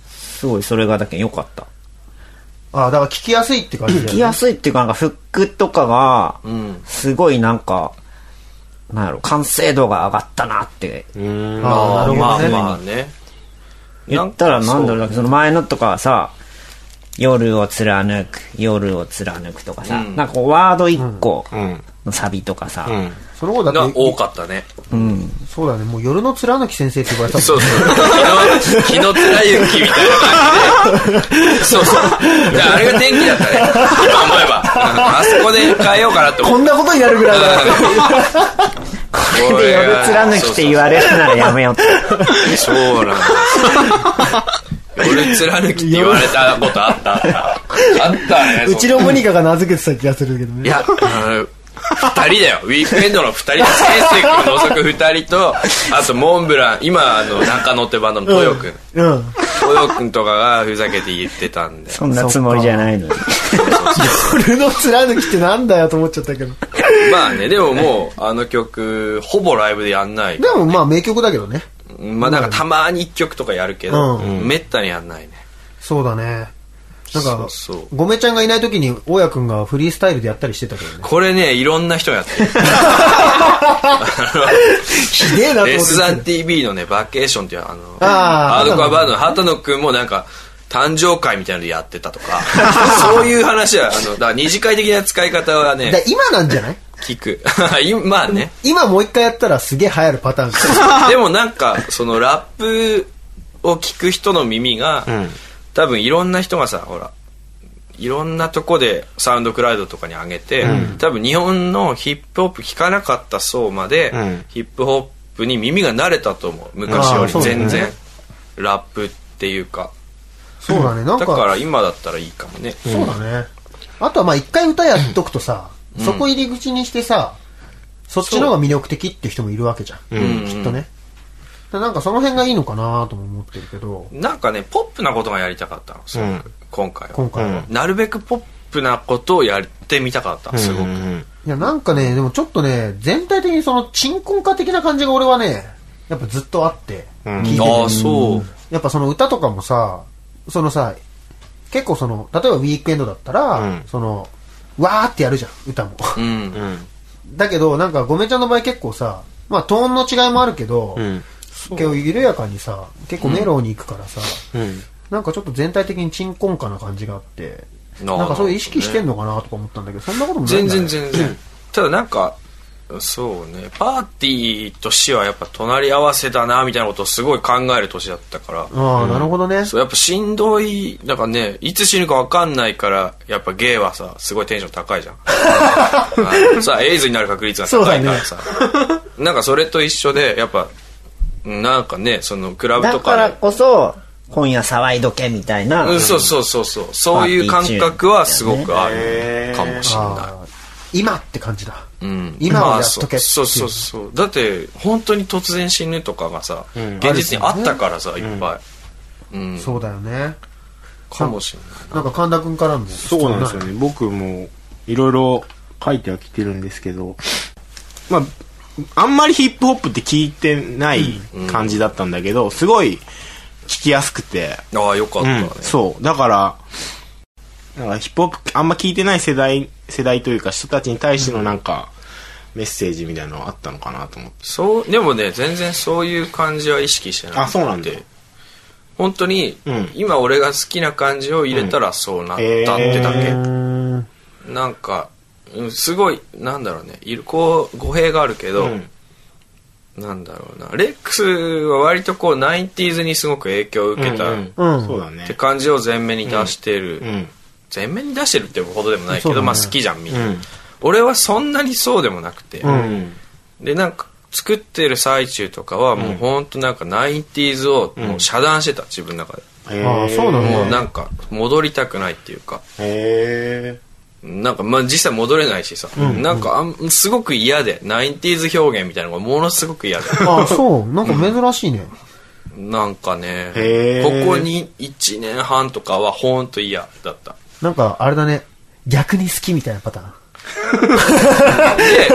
Speaker 2: すごいそれがだけ良かった。
Speaker 1: あ、だから聞きやすいって感じだよね
Speaker 2: 聞きやすいっていうか、なんかフックとかが、すごいなんか、なんやろ、完成度が上がったなって
Speaker 1: あ
Speaker 5: あ
Speaker 1: ー
Speaker 5: ーま
Speaker 1: な
Speaker 5: あ
Speaker 1: るほどね。
Speaker 5: まあね
Speaker 2: 言ったらなんだろう
Speaker 5: な
Speaker 2: な、その前のとかはさ、夜を貫く、夜を貫くとかさ、なんかこうワード一個
Speaker 3: ん
Speaker 2: のサビとかさ、
Speaker 1: その頃だ
Speaker 5: が
Speaker 1: って、
Speaker 5: 多かったね
Speaker 1: そうだね、もう夜の貫き先生って呼ばれたもんね
Speaker 5: そうそう昨日昨日貫之みたいな感じでそうそういやあれが天気だったね今思えばあそこで変えようかなって思
Speaker 1: こ
Speaker 5: っ
Speaker 1: んなことになるぐらいだ
Speaker 5: た
Speaker 2: で夜貫きって言われるならやめようって。
Speaker 5: そうなんだ俺貫きって言われたことあったあったあ ったね
Speaker 1: うちのモニカが名付けてた気がするけど
Speaker 5: い
Speaker 1: ね。
Speaker 5: や、あの、二人だよ。ウィークエンドの二人、先生君を除く二人と、あとモンブラン、今、あの、中野ってバンドのトヨ君。
Speaker 1: うん。
Speaker 5: トヨ君とかがふざけて言ってたんで。
Speaker 2: そんなつもりじゃないのに。
Speaker 1: 夜の貫きってなんだよと思っちゃったけど。
Speaker 5: まあね、でももう、あの曲、ほぼライブでやんない
Speaker 1: で。もまあ名曲だけどね。
Speaker 5: まあなんかたまに一曲とかやるけど、
Speaker 1: う
Speaker 5: めったにやんないね。
Speaker 1: そうだね。なんか、
Speaker 5: そうそう
Speaker 1: ごめちゃんがいない時に、大家くんがフリースタイルでやったりしてたけどね。
Speaker 5: これね、いろんな人がやって る。
Speaker 1: ひでえなと思ってたけど。
Speaker 5: S1TV のね、バケーションっていうあの、
Speaker 1: あー
Speaker 5: ハードコアバンドの畑野くんもなんか、誕生会みたいなのでやってた とか、そういう話は、あの、だから二次会的な使い方は
Speaker 1: だ
Speaker 5: ね、
Speaker 1: 今なんじゃない
Speaker 5: 聞く。 いまあね。
Speaker 1: 今もう一回やったらすげえ流行るパターン。
Speaker 5: でもなんか、そのラップを聞く人の耳が、多分いろんな人がさ、ほら、いろんなとこでサウンドクラウドとかに上げて、多分日本のヒップホップ聞かなかった層まで、
Speaker 3: ん
Speaker 5: ヒップホップに耳が慣れたと思う昔より
Speaker 1: あーそうだね
Speaker 5: 全然、ラップっていうか
Speaker 1: そうだね、なん
Speaker 5: だ
Speaker 1: か。
Speaker 5: から今だったらいいかもね、
Speaker 1: そうだね。あとはまあ一回歌やっとくとさ、そこ入り口にしてさ、そっちの方が魅力的っていう人もいるわけじゃん。きっとね。だなんかその辺がいいのかなとも思ってるけど、
Speaker 5: なんかねポップなことがやりたかったのすごく、今回は
Speaker 1: 今回は。
Speaker 5: なるべくポップなことをやってみたかったすごく、
Speaker 1: いや、なんかね、でもちょっとね、全体的にその鎮魂歌的な感じが俺はね、やっぱずっとあって、聞いてて
Speaker 5: ああそう
Speaker 1: やっぱその歌とかもさ、そのさ、結構その、例えばウィークエンドだったら、その、わーってやるじゃん、歌も。
Speaker 5: うん、
Speaker 1: だけど、なんか、ごめちゃんの場合結構さ、まあ、トーンの違いもあるけど、結構緩やかにさ、結構メロウに行くからさ、なんかちょっと全体的に鎮魂家な感じがあって、
Speaker 5: な
Speaker 1: な
Speaker 5: るほどね
Speaker 1: んかそれ意識してんのかなとか思ったんだけど、そんなこともないん
Speaker 5: 全
Speaker 1: だ
Speaker 5: 然全然ただなんかそうねパーティーと死はやっぱ隣り合わせだなみたいなことをすごい考える年だったから、
Speaker 1: ああ、なるほどね。
Speaker 5: そうやっぱしんどいだからねいつ死ぬか分かんないからやっぱゲイはさすごいテンション高いじゃん はいさあエイズになる確率が高いからさ、 なんかそれと一緒でやっぱなんかねそのクラブ
Speaker 2: だ
Speaker 5: と
Speaker 2: か
Speaker 5: からで
Speaker 2: こそ、今夜騒いどけみたいな。
Speaker 5: うん、そうそうそうそうそういう感覚はすごくあるかもしれない
Speaker 1: あー今って感じだ。
Speaker 5: うん
Speaker 1: 今をやっとけっていう
Speaker 5: まあそうそうそうそうだって本当に突然死ぬとかがさ、現実にあったからさ、いっぱい、うん
Speaker 1: そうだよね。
Speaker 5: かもしれない
Speaker 1: なんか神田君からも。
Speaker 3: そうなんですよね。僕もいろいろ書いてはきてるんですけど、まあ、あんまりヒップホップって聞いてない感じだったんだけど、すごい聞きやすくて、
Speaker 5: ああよかったね、
Speaker 3: うん、そう。だから、なんかヒップホップあんま聞いてない世代、世代というか人たちに対してのなんか、メッセージみたいなのはあったのかなと思って。
Speaker 5: そうでもね全然そういう感じは意識してない
Speaker 3: あ、そうなんで。
Speaker 5: 本当に、
Speaker 3: うん
Speaker 5: 今俺が好きな感じを入れたらそうなったってだけ、
Speaker 3: え
Speaker 5: なんか、うん、すごいなんだろうねいるこう語弊があるけど、
Speaker 3: うん
Speaker 5: なんだろうなレックスは割とこう 90s にすごく影響を受けた、
Speaker 3: うん
Speaker 1: うん
Speaker 3: そうだね
Speaker 5: って。感じを前面に出してる、
Speaker 3: うん。
Speaker 5: 前面に出してるってほどでもないけ
Speaker 1: そう
Speaker 5: ど、
Speaker 1: だね
Speaker 5: まあ好きじゃんみん
Speaker 3: う
Speaker 5: な、
Speaker 3: ん。
Speaker 5: 俺はそんなにそうでもなくて、
Speaker 3: うん。
Speaker 5: でなんか作ってる最中とかはもううほんとなんか 90s をもう遮断してた自分の中で、
Speaker 1: ああ、そうな
Speaker 5: も
Speaker 1: の
Speaker 5: うなんか戻りたくないっていうか
Speaker 3: へ
Speaker 5: なんかまあ実際戻れないしさ、なんかあんすごく嫌で 90s 表現みたいなのがものすごく嫌で
Speaker 1: ああ、そう。なんか珍しいね。
Speaker 5: なんかね
Speaker 3: へ
Speaker 5: こ
Speaker 3: ー
Speaker 5: こに1年半とかはほんと嫌だった
Speaker 1: なんか、あれだね。逆に好きみたいなパターン。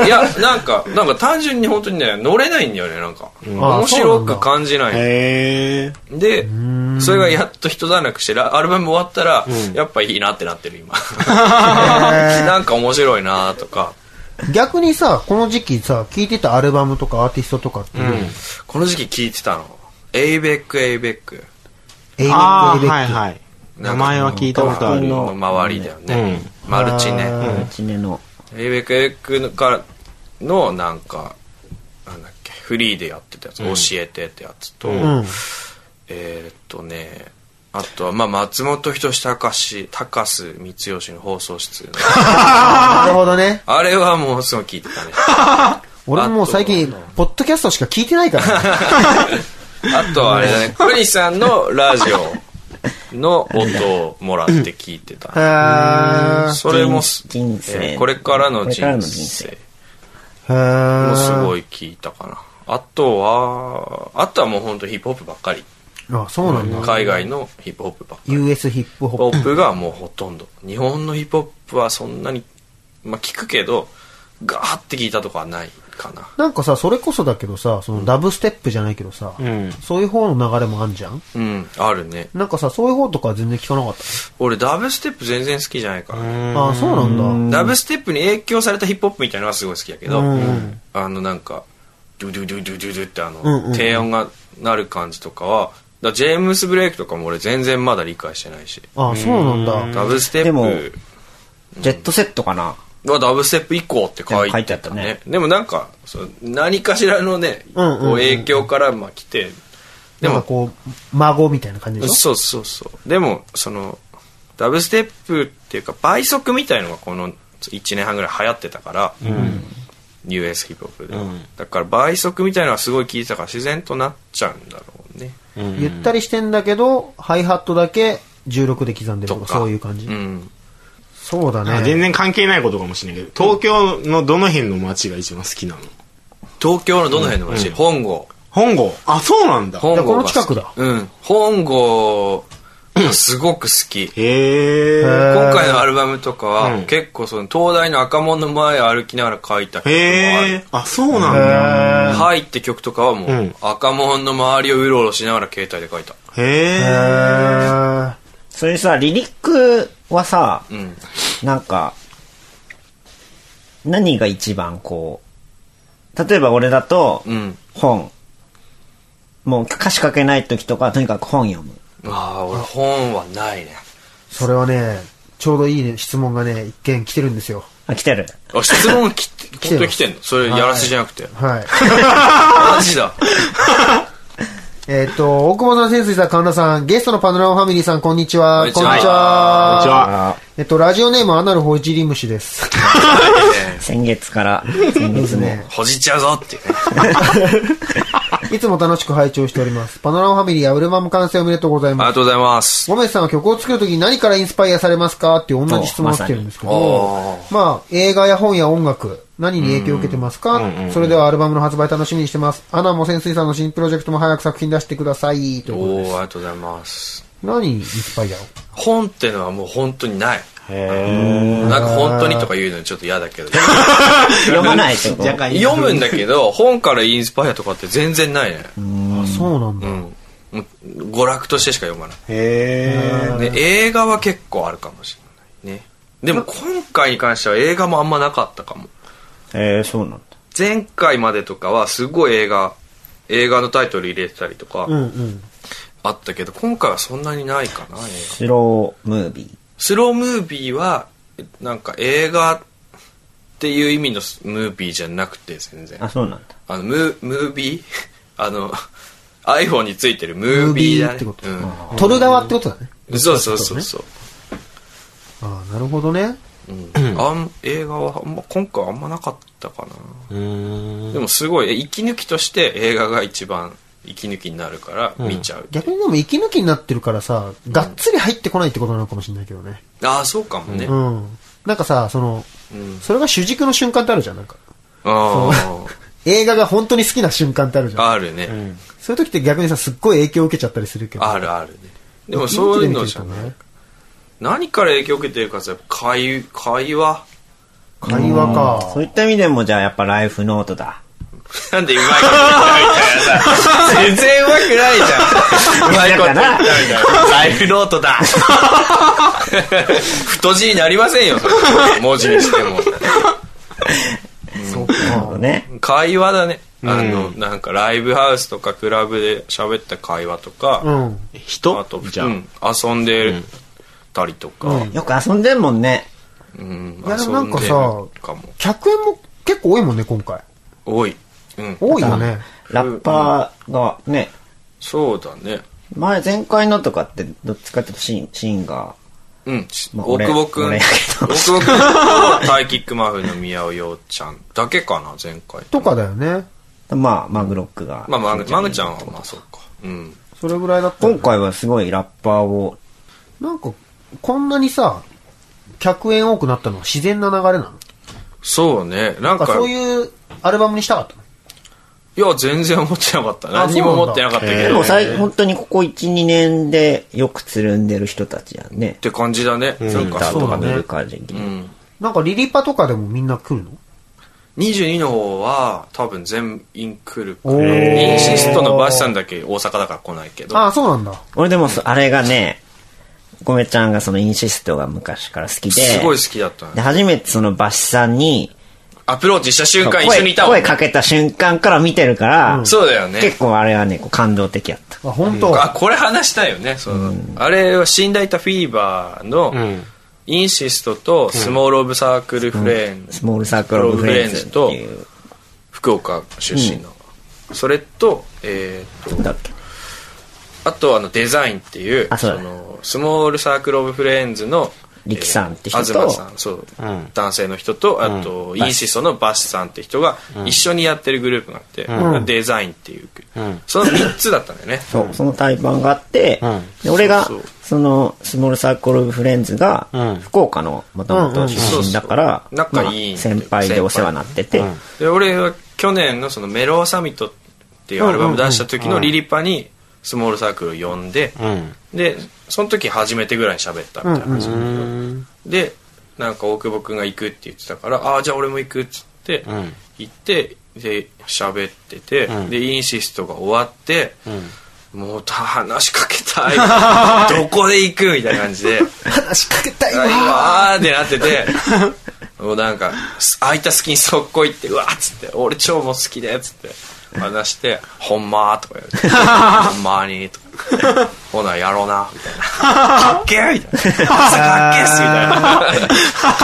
Speaker 5: で、いや、なんか、なんか単純に本当にね、乗れないんだよね、なんか。面白く感じ
Speaker 3: え。
Speaker 5: ない。
Speaker 3: へえ。
Speaker 5: で、それがやっと一段落して、ラアルバム終わったら、やっぱいいなってなってる、今。 なんか面白いなとか。
Speaker 1: 逆にさ、この時期さ、聴いてたアルバムとかアーティストとかって、
Speaker 5: この時期聞いてたの。エイベック、エイベック。
Speaker 1: エイベ
Speaker 3: ああ、
Speaker 1: ックエイベ
Speaker 3: はい
Speaker 1: ック。
Speaker 3: はい。名前は聞いたことあ
Speaker 5: 学校
Speaker 3: る。
Speaker 5: の周りだよね。マルチ
Speaker 1: あ
Speaker 5: ね。
Speaker 1: ー
Speaker 2: うちねの。
Speaker 5: エイベック、エイベックからの、なんか、なんだっけ、フリーでやってたやつ、教えてってやつと、
Speaker 1: うん。
Speaker 5: えーっとねあとはまあ松本人志隆高須光義の放送室 の
Speaker 1: なるほどね。
Speaker 5: あれはもうすごい聞いてたね
Speaker 1: 俺ももう最
Speaker 5: あ
Speaker 1: 近
Speaker 5: とは、
Speaker 1: ポッドキャストしか聞いてないからね。
Speaker 5: あとはあれだね小西さんのラジオの音をもらって聞いてた
Speaker 1: へ
Speaker 5: それもす
Speaker 2: 人生
Speaker 5: えーこれからの
Speaker 2: これ
Speaker 5: 人
Speaker 2: からの人
Speaker 5: 生
Speaker 1: ー。へ
Speaker 2: 生
Speaker 1: ー。
Speaker 5: もすごい聞いたかなあとはあとはもう本当ヒップホップばっかり
Speaker 1: あ、そうなんだ。
Speaker 5: 海外のヒップホップばっかり
Speaker 1: US ヒップ
Speaker 5: ヒップホ
Speaker 1: ホッ
Speaker 5: ップがもうほとんど日本のヒップホップはそんなにまあ聞くけどガーって聞いたとかはないか
Speaker 1: プ。
Speaker 5: な
Speaker 1: なんかさ、それこそだけどさ、そのダブステップじゃないけどさ、
Speaker 3: ん
Speaker 1: そういう方の流れもあんじゃん
Speaker 5: うんあるね
Speaker 1: なんかさ、そういう方とかは全然聞かなかった。
Speaker 5: 俺ダブステップ全然好きじゃないから、ね、
Speaker 1: ああ、そうなんだ。
Speaker 5: ダブステップに影響されたヒップホップみたいなのはすごい好きやけど、
Speaker 1: うん
Speaker 5: あのなんかドゥドゥドゥドゥドゥドゥってあの、
Speaker 1: んうん
Speaker 5: 低音がなる感じとかはだからジェームス・ブレイクとかも俺全然まだ理解してないし
Speaker 1: ああ、そうなんだ。
Speaker 5: ダブステ
Speaker 2: でも
Speaker 5: ッ
Speaker 2: ジェットセットかな。
Speaker 5: プはダブステップ以降って書いてたね
Speaker 2: 書いてあったね
Speaker 5: でもなんかそう何かしらのね、
Speaker 1: うんうんうん
Speaker 5: こう影響からまあ来て
Speaker 1: な
Speaker 5: で
Speaker 1: んか
Speaker 5: も
Speaker 1: こう、孫みたいな感じでしょ
Speaker 5: そうそうそうでもそのダブステップっていうか倍速みたいのがこの1年半ぐらい流行ってたから、US ヒップホップで、だから倍速みたいのはすごい聞いてたから自然となっちゃうんだろうね
Speaker 1: ゆったりしてんだけど、ハイハットだけ16で刻んでるとか、
Speaker 5: とか
Speaker 1: そういう感じ
Speaker 5: う。ん
Speaker 1: そうだ
Speaker 3: あ
Speaker 1: ね。
Speaker 3: 全然関係ないことかもしれないけど、東京のどの辺の街が一番好きなの
Speaker 5: 東京のどの辺の街、本郷
Speaker 3: 本郷あ、そうなんだ。
Speaker 5: 本郷が好き
Speaker 1: じゃあこの近くだ
Speaker 5: うん本郷がすごく好き
Speaker 3: へ
Speaker 1: へ
Speaker 3: え。
Speaker 5: 今回のアルバムとかは、
Speaker 3: うん
Speaker 5: 結構その東大の赤門の前を歩きながら書いた曲もあ
Speaker 3: へ
Speaker 5: る
Speaker 3: え。あ、そうなんだ。
Speaker 5: はいって曲とかはもう、
Speaker 3: ん
Speaker 5: 赤門の周りをうろうろしながら携帯で書いた。
Speaker 3: へえ。
Speaker 1: へ
Speaker 2: それさ、リリックはさ、
Speaker 5: うん。
Speaker 2: なんか、何が一番こう、例えば俺だと、
Speaker 5: うん。
Speaker 2: 本。もう歌詞書けない時とか、とにかく本読む。
Speaker 5: ああ、俺本はないね。
Speaker 1: それはね、ちょうどいいね、質問がね、一件来てるんですよ。
Speaker 2: あ、来てる。
Speaker 5: あ、質問き、
Speaker 1: て
Speaker 5: 本当に来てんのそれ、やらせじゃなくて。
Speaker 1: はい。
Speaker 5: マジ だ。
Speaker 1: えっと、大久保さん、潜水さん、神田さん、ゲストのパノラマファミリーさん、こんにちは。
Speaker 5: こんにちは
Speaker 3: こんにち
Speaker 1: は。
Speaker 3: は。
Speaker 1: えっと、ラジオネーム、アナルホジリムシです。
Speaker 2: 先月から、先月も。
Speaker 5: ほじっちゃうぞっていうね。
Speaker 1: いつも楽しく拝聴しております。パノラマファミリーやウルマム完成おめでとうござい
Speaker 5: あり
Speaker 1: ま
Speaker 5: が
Speaker 1: す。
Speaker 5: とうございます。
Speaker 1: ゴメスさんは曲を作るときに何からインスパイアされますかっていう同じ質問が来てるんですけど、まあ、映画や本や音楽、何に影響を受けてますか、それではアルバムの発売楽しみにしてます。アナも潜水さんの新プロジェクトも早く作品出してください。ということ
Speaker 5: お
Speaker 1: で
Speaker 5: ー、ありがとうございます。
Speaker 1: 何にインスパイアを
Speaker 5: 本ってのはもう本当にない。
Speaker 3: へ
Speaker 5: なんか本当にとか言うのちょっと嫌だ けど。
Speaker 2: 読まないってこと
Speaker 3: 若干
Speaker 5: 読むんだけど、本からインスパイアとかって全然ないね。
Speaker 1: あ、そうなんだ。
Speaker 5: うん。もう娯楽としてしか読まない。
Speaker 3: え。へえ。
Speaker 5: ね、映画は結構あるかもしれないねでも今回に関しては映画もあんまなかったかも
Speaker 2: えー、そうなんだ。
Speaker 5: 前回までとかはすごい映画映画のタイトル入れてたりとか
Speaker 1: うんうん。
Speaker 5: あったけど、今回はそんなにないかな
Speaker 2: ス
Speaker 5: 映画
Speaker 2: ロームービ
Speaker 5: スロームービーはなんか映画っていう意味のムービーじゃなくて全然
Speaker 2: ー。あ、そうなんだ。
Speaker 5: あのムームービー あの iPhone についてるムービーだね
Speaker 1: ムービーってこと
Speaker 5: う
Speaker 1: 撮る側ってことだね。
Speaker 5: ん、そうそうそうそう、
Speaker 1: ああ、なるほどね。
Speaker 5: うん、あん映画はあんま今回はあんまなかったかなでもすごいえ息抜きとして映画が一番息抜きになるから見ちゃう、
Speaker 1: 逆にでも息抜きになってるからさ、がっつり入ってこないってことなのかもしれないけどね。
Speaker 5: ああそうかもね、
Speaker 1: う
Speaker 5: あ
Speaker 1: ん。なんかさ、その、
Speaker 5: ん
Speaker 1: それが主軸の瞬間ってあるじゃん、なんか。
Speaker 5: あ
Speaker 1: 映画が本当に好きな瞬間ってあるじゃん。
Speaker 5: あるね、
Speaker 1: そういう時って逆にさ、すっごい影響を受けちゃったりするけど。
Speaker 5: あるあるねでもそういうのじゃ
Speaker 1: 息抜き
Speaker 5: な
Speaker 1: で
Speaker 5: い、
Speaker 1: 見て
Speaker 5: 何から影響を受けてるかってやっぱ会会話
Speaker 1: る とね会話か。
Speaker 2: そういった意味でも、じゃあやっぱライフノートだ。
Speaker 5: なんでうまいこと言ったみたいなさ 全然うまくないじゃんうまいこと言ったみたいなライフノートだ太字になりませんよそれ文字にしても
Speaker 1: そうか。
Speaker 2: ね。
Speaker 5: 会話だねあの、なんかライブハウスとかクラブで喋った会話とか、
Speaker 1: うん。
Speaker 5: あ
Speaker 3: 人
Speaker 5: と、
Speaker 3: じゃあ
Speaker 5: うん、遊んでたりとか、
Speaker 2: よく遊んでんもんね。
Speaker 5: うん
Speaker 1: いやでもなんかさ
Speaker 5: 遊んでるかも
Speaker 1: 客演も結構多いもんね、今回。
Speaker 5: 多い、うん、
Speaker 1: 多いよね。
Speaker 2: ラッパーがね、
Speaker 5: そうだね
Speaker 2: 前、前回のとかって、どっちかっていうとシンシンガ
Speaker 5: うん、し
Speaker 2: まあ
Speaker 5: 大久保くん
Speaker 2: 俺俺
Speaker 5: 大
Speaker 2: やけ
Speaker 5: 久
Speaker 2: ど
Speaker 5: 保くんとタイキックマフの宮尾陽ちゃんだけかな前回
Speaker 1: とかだよね。
Speaker 2: ー。まあ、マグロックが。
Speaker 5: まあマグマグちゃんはまあそうかうん
Speaker 1: それぐらいだったよね
Speaker 2: 今回はすごいラッパーを、
Speaker 1: なんか、こんなにさ、客演多くなったのは自然な流れなの
Speaker 5: そうねなん
Speaker 1: なん
Speaker 5: か
Speaker 1: かそういうアルバムにしたかったの
Speaker 5: いや全然思ってなかった
Speaker 1: あ
Speaker 5: 何にも思ってなかったけ
Speaker 2: で
Speaker 5: ど
Speaker 2: も
Speaker 5: っ
Speaker 2: さい本当にここ1、2年でよくつるんでる人たちやんね。
Speaker 5: て感じだね、なんか
Speaker 2: 歌
Speaker 5: そ
Speaker 2: と
Speaker 5: うだ
Speaker 2: か
Speaker 5: ね
Speaker 2: 見る感じ。
Speaker 5: うん
Speaker 1: なんかリリパとかでもみんな来るの
Speaker 5: 22の方は多分全員来るから
Speaker 1: おー
Speaker 5: インシストのバシさんだけ大阪だから来ないけど
Speaker 1: ああ、そうなんだ。
Speaker 2: 俺でもそ、あれがね、ごめちゃんがそのインシストが昔から好きで、
Speaker 5: すごい好きだったね
Speaker 2: で、初めてそのバシさんに、
Speaker 5: アプローチした瞬間
Speaker 2: 声
Speaker 5: 一緒にいたも
Speaker 2: 声
Speaker 5: ん
Speaker 2: かけた瞬間から見てるから、
Speaker 5: そうだよね
Speaker 2: 結構あれはね、こう感動的やった。
Speaker 1: あ、本当。
Speaker 5: あこれ話したいよねそのあれは死んだいたフィーバーの
Speaker 3: ん
Speaker 5: インシストとスモール・オブ・サークル・フレーン
Speaker 2: スモールサークルオブフレンズっていう、
Speaker 5: 福岡出身のそれとえー
Speaker 2: なんだっけ
Speaker 5: あとあのデザインっていう
Speaker 2: あそうだ
Speaker 5: のスモールサークル・オブ・フレンズの
Speaker 2: 力さんって人と
Speaker 5: えー東さんそう、
Speaker 3: ん
Speaker 5: 男性の人とあと、インシストのバシさんって人が一緒にやってるグループがあって、デザインっていう、
Speaker 3: ん
Speaker 5: その3つだったんだよね
Speaker 2: そう、その対バンがあって、
Speaker 3: ん
Speaker 2: で俺が
Speaker 5: そうそう、
Speaker 2: その、スモールサークルオブフレンズが
Speaker 3: うん、
Speaker 2: 福岡のもともと出身だから、
Speaker 5: うんうんそうそう仲いい
Speaker 2: まあ先輩でお世話になってて、
Speaker 5: で俺は去年のそのメローサミットっていうアルバム出した時のリリパにスモールサークルを呼んで、
Speaker 3: うん。
Speaker 5: でその時初めてぐらいに喋ったみたいな話、でなんか大久保君が行くって言ってたからああじゃあ俺も行くっつって、
Speaker 3: ん
Speaker 5: 行ってで喋ってて、でインシストが終わって、もうた話しかけた いどこで行くみたいな感じ で
Speaker 1: 話しかけたいわ。
Speaker 5: あーってなってて もうなんかす空いた隙に速攻行ってうわっつって 俺超もう好きだよっつって話して「ほんま?」とか言われて「ほんまに?」とかほな、やろうな、み たいな。かっけーみたいな。朝かっけーっす みたいな。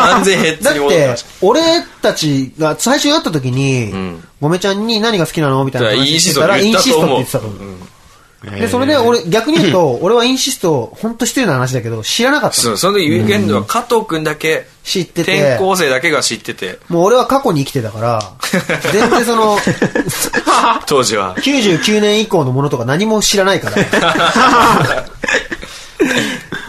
Speaker 5: 完全ヘッ
Speaker 1: だ
Speaker 5: ズ
Speaker 1: っ
Speaker 5: に戻って
Speaker 1: て
Speaker 5: ました。、
Speaker 1: 俺たちが最初会った時に、
Speaker 5: ん
Speaker 1: ごめちゃんに何が好きなのみたいな話してたら、
Speaker 5: だから
Speaker 1: イ
Speaker 5: イ
Speaker 1: ン
Speaker 5: ン
Speaker 1: シ
Speaker 5: シ
Speaker 1: ス
Speaker 5: ス
Speaker 1: ト
Speaker 5: ト
Speaker 1: って
Speaker 5: と
Speaker 1: 言
Speaker 5: 思
Speaker 1: っ
Speaker 5: う
Speaker 1: てたと思う。で、それで俺、逆に言うと、俺はインシスト、本当失礼な話だけど、知らなかった
Speaker 5: そ
Speaker 1: の。
Speaker 5: う、その時、ウィークエンドは加藤くんだけ、
Speaker 1: 知ってて
Speaker 5: 転校生だけが知ってて、
Speaker 1: もう俺は過去に生きてたから、全然そ の、
Speaker 5: 当時は。
Speaker 1: 99年以降のものとか何も知らないから。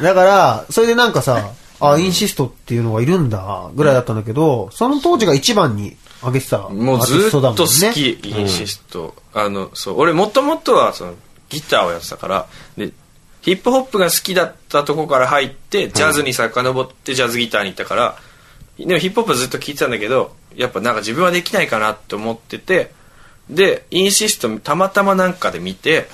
Speaker 1: だから、それでなんかさ、あ、インシストっていうのがいるんだ、ぐらいだったんだけど、その当時が一番に挙げてたア
Speaker 5: も
Speaker 1: ー
Speaker 5: う
Speaker 1: テ
Speaker 5: ず
Speaker 1: ィ
Speaker 5: ー
Speaker 1: ス
Speaker 5: っと
Speaker 1: トだもんね。
Speaker 5: 好き、インシスト。あの、そう、俺もともとは、その、ギターをやってたから、で、ヒップホップが好きだったとこから入って、ジャズに遡ってジャズギターに行ったから、でもヒップホップはずっと聴いてたんだけど、やっぱなんか自分はできないかなって思ってて、で、インシストたまたまなんかで見て、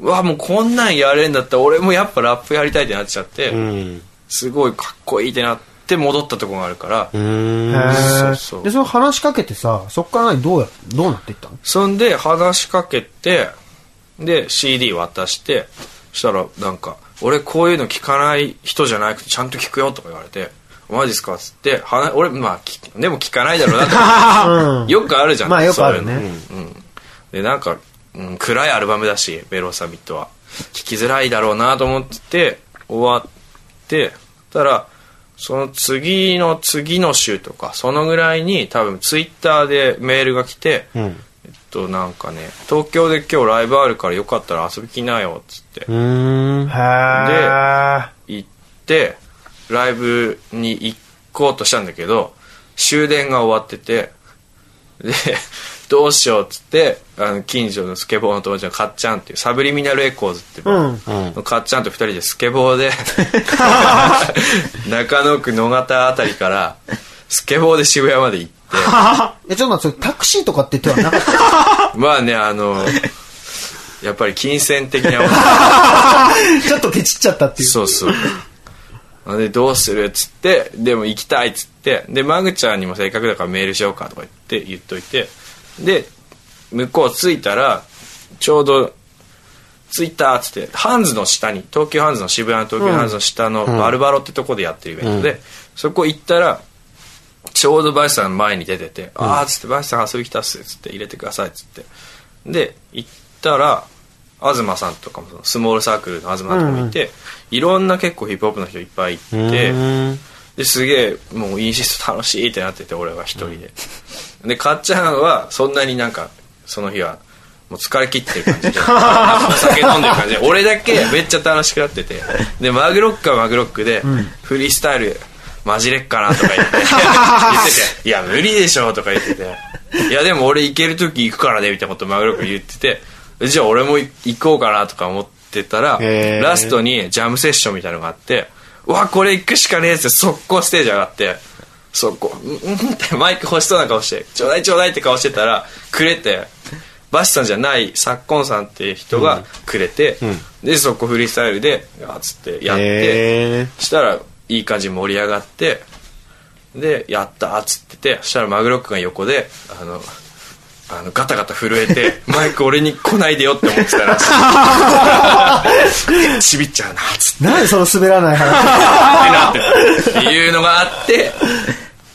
Speaker 5: うわ、もうこんなんやれんだったら俺もやっぱラップやりたいってなっちゃって、
Speaker 3: うん。
Speaker 5: すごいかっこいいってなって戻ったとこがあるから、
Speaker 3: うん。
Speaker 1: へー
Speaker 5: そうそう
Speaker 1: で、その話しかけてさ、そっから何どうや、どうなっていったの
Speaker 5: そんで話しかけてで CD 渡してしたらなんか「俺こういうの聞かない人じゃなくてちゃんと聞くよ」とか言われて「マジっすか?」っつってはな俺まあきでも聞かないだろうなと 思ってよくあるじゃん
Speaker 1: まあよくある
Speaker 5: そういうの
Speaker 1: ね
Speaker 5: うんでなんか、うん、暗いアルバムだしベロサミットは聞きづらいだろうなと思ってて終わってたらその次の次の週とかそのぐらいに多分ツイッターでメールが来て、えっとなんかね東京で今日ライブあるからよかったら遊び来なよっつって、
Speaker 3: うん。
Speaker 5: 行ってライブに行こうとしたんだけど終電が終わっててで どうしようっつってあの近所のスケボーの友達のかっちゃんっていうサブリミナルエコーズってバンドかっちゃんと二人でスケボーで 中野区野方あたりからスケボーで渋谷まで行って
Speaker 1: え、ちょっと待って、それタクシーとかって手はなかった
Speaker 5: まあねあのやっぱり金銭的な
Speaker 1: ちょっとケチっちゃったっていう。
Speaker 5: そうそう。あで、どうするっつって、でも行きたいっつって、で、マグちゃんにもせっかくだからメールしようかとか言って、言っといて、で、向こう着いたら、ちょうど、着いたっつって、ハンズの下に、東急ハンズの渋谷の東急ハンズの下のバルバロってとこでやってるイベントで、そこ行ったら、ちょうどバイスさんの前に出てて、あーっつって、バイスさん遊び来たっすっつって、入れてくださいっつって。で、行ったら、東さんとかもそのスモールサークルの東さんとかもいて、いろんな結構ヒップホップの人いっぱいいて、ですげえもうインシスト楽しいってなってて俺は一人で、でかっちゃんはそんなになんかその日はもう疲れ切ってる感 じでお酒飲んでる感じで俺だけめっちゃ楽しくなっててでマグロックはマグロックで、フリースタイルマジレっかなと か言って言ってて「いや無理でしょ」とか言ってて「いやでも俺行ける時行くからね」みたいなことマグロック言っててじゃあ俺も行こうかなとか思ってたら
Speaker 3: へー
Speaker 5: ラストにジャムセッションみたいなのがあって、うわ、これ行くしかねえっつって、速攻ステージ上がって、速攻、うんうんってマイク欲しそうな顔して、ちょうだいちょうだいって顔してたら、くれて、バシさんじゃない、サッコンさんっていう人がくれて、で、速攻フリースタイルで、あっつってやって、
Speaker 3: へ
Speaker 5: したら、いい感じに盛り上がって、で、やったっつってて、そしたらマグロックが横で、あの、あのガタガタ震えて マイク俺に来ないでよって思ってたらし いちびっちゃうなっつって
Speaker 1: なんでその滑らない話
Speaker 5: なってっていうのがあって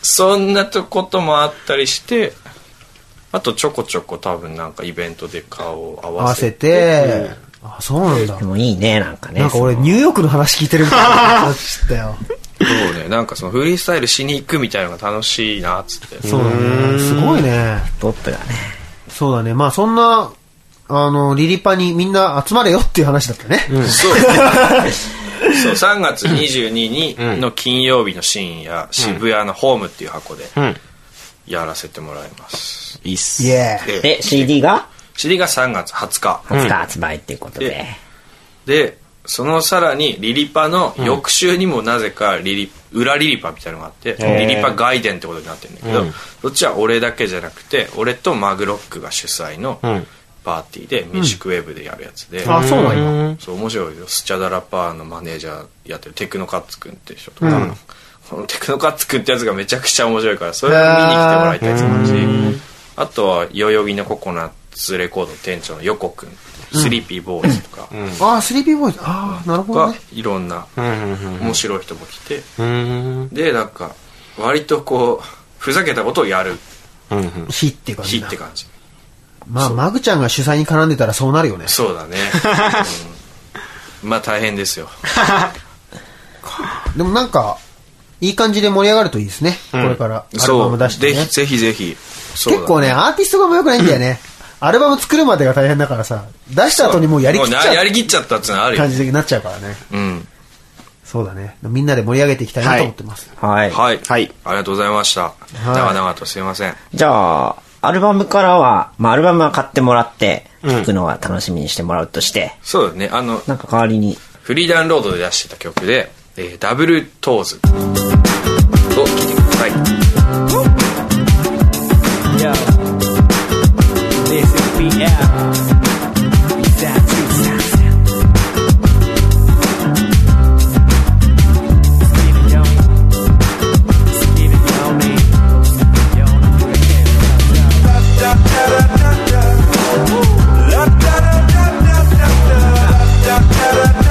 Speaker 5: そんなとこともあったりしてあとちょこちょこ多分なんかイベントで顔を合
Speaker 1: 合わ
Speaker 5: わ
Speaker 1: せ
Speaker 5: せて
Speaker 1: て、あ、そうなんだ
Speaker 2: で。もいいね、なんかね。
Speaker 1: なんか俺、
Speaker 2: そ
Speaker 1: ニ
Speaker 2: の
Speaker 1: ューヨークの話聞いてるみたいな 話だったよ。
Speaker 5: そうねなんかそのフリースタイルしに行くみたいなのが楽しいなっつって
Speaker 1: そうだね。すごいね。
Speaker 2: ポップだね。
Speaker 1: そうだね。まあそんな、あの、リリパにみんな集まれよっていう話だったね。
Speaker 5: そうそう3月22日の金曜日の深夜、渋谷のホームっていう箱で
Speaker 3: ん
Speaker 5: やらせてもらいます、
Speaker 3: いいっす
Speaker 1: イ。エーイ。
Speaker 5: で
Speaker 2: で、CD が
Speaker 5: 知りが3月20日
Speaker 2: 20日発売っていうことで。
Speaker 5: ででそのさらにリリパの翌週にもなぜかリリ裏リリパみたいなのがあってリリパ外伝ってことになってるんだけど、そっちは俺だけじゃなくて俺とマグロックが主催のパーティーでミュージックウェーブでやるやつで、
Speaker 1: あ、そうなんだ。
Speaker 5: そう面白いよスチャダラパーのマネージャーやってるテクノカッツくんって人とか、このテクノカッツくんってやつがめちゃくちゃ面白いからそれを見に来てもらいたいって感じあとは代々木のココナッツーレコードの店長の横くん、スリーピーボーイズとか
Speaker 1: ああ、スリーピーボーイズ。ああ、なるほど
Speaker 5: が
Speaker 1: ね。
Speaker 5: いろんな面白い人も来て、
Speaker 3: うん。
Speaker 5: で、なんか、割とこう、ふざけたことをやる
Speaker 3: うん。
Speaker 1: 火って感
Speaker 5: 日
Speaker 1: じ
Speaker 5: っ
Speaker 1: だ
Speaker 5: て。感じ。
Speaker 1: まあ、マグちゃんが主催に絡んでたらそうなるよね。
Speaker 5: そうだね。うんまあ大変ですよ。
Speaker 1: でもなんか、いい感じで盛り上がるといいですね。これから、アルバム出して
Speaker 5: そう
Speaker 1: ね。
Speaker 5: ぜひぜひぜひ。そうだ
Speaker 1: 結構ね、アーティストがもよくないんだよね。アルバム作るまでが大変だからさ、出した後にもうやりきっち
Speaker 5: もうなや
Speaker 1: ゃ
Speaker 5: りきっちゃったってのはあ
Speaker 1: う
Speaker 5: るよ
Speaker 1: 感。じになっちゃうからね。
Speaker 5: うん。
Speaker 1: そうだね。みんなで盛り上げていきたいなと思ってます。
Speaker 2: はい。
Speaker 5: はい。
Speaker 3: はい
Speaker 5: ありがとうございました。長々とすいません。
Speaker 2: じゃあ、アルバムからは、まあ、アルバムは買ってもらって、聴くのは楽しみにしてもらうとして、
Speaker 5: そうだね。あの、
Speaker 2: なんか代わりに、
Speaker 5: フリーダウンロードで出してた曲で、えーダブルトーズを聴いてください。
Speaker 6: Yo, this is BL. That's you. Steven Yoni. Steven Yoni. Yoni, you can't stop, yo. Yeah.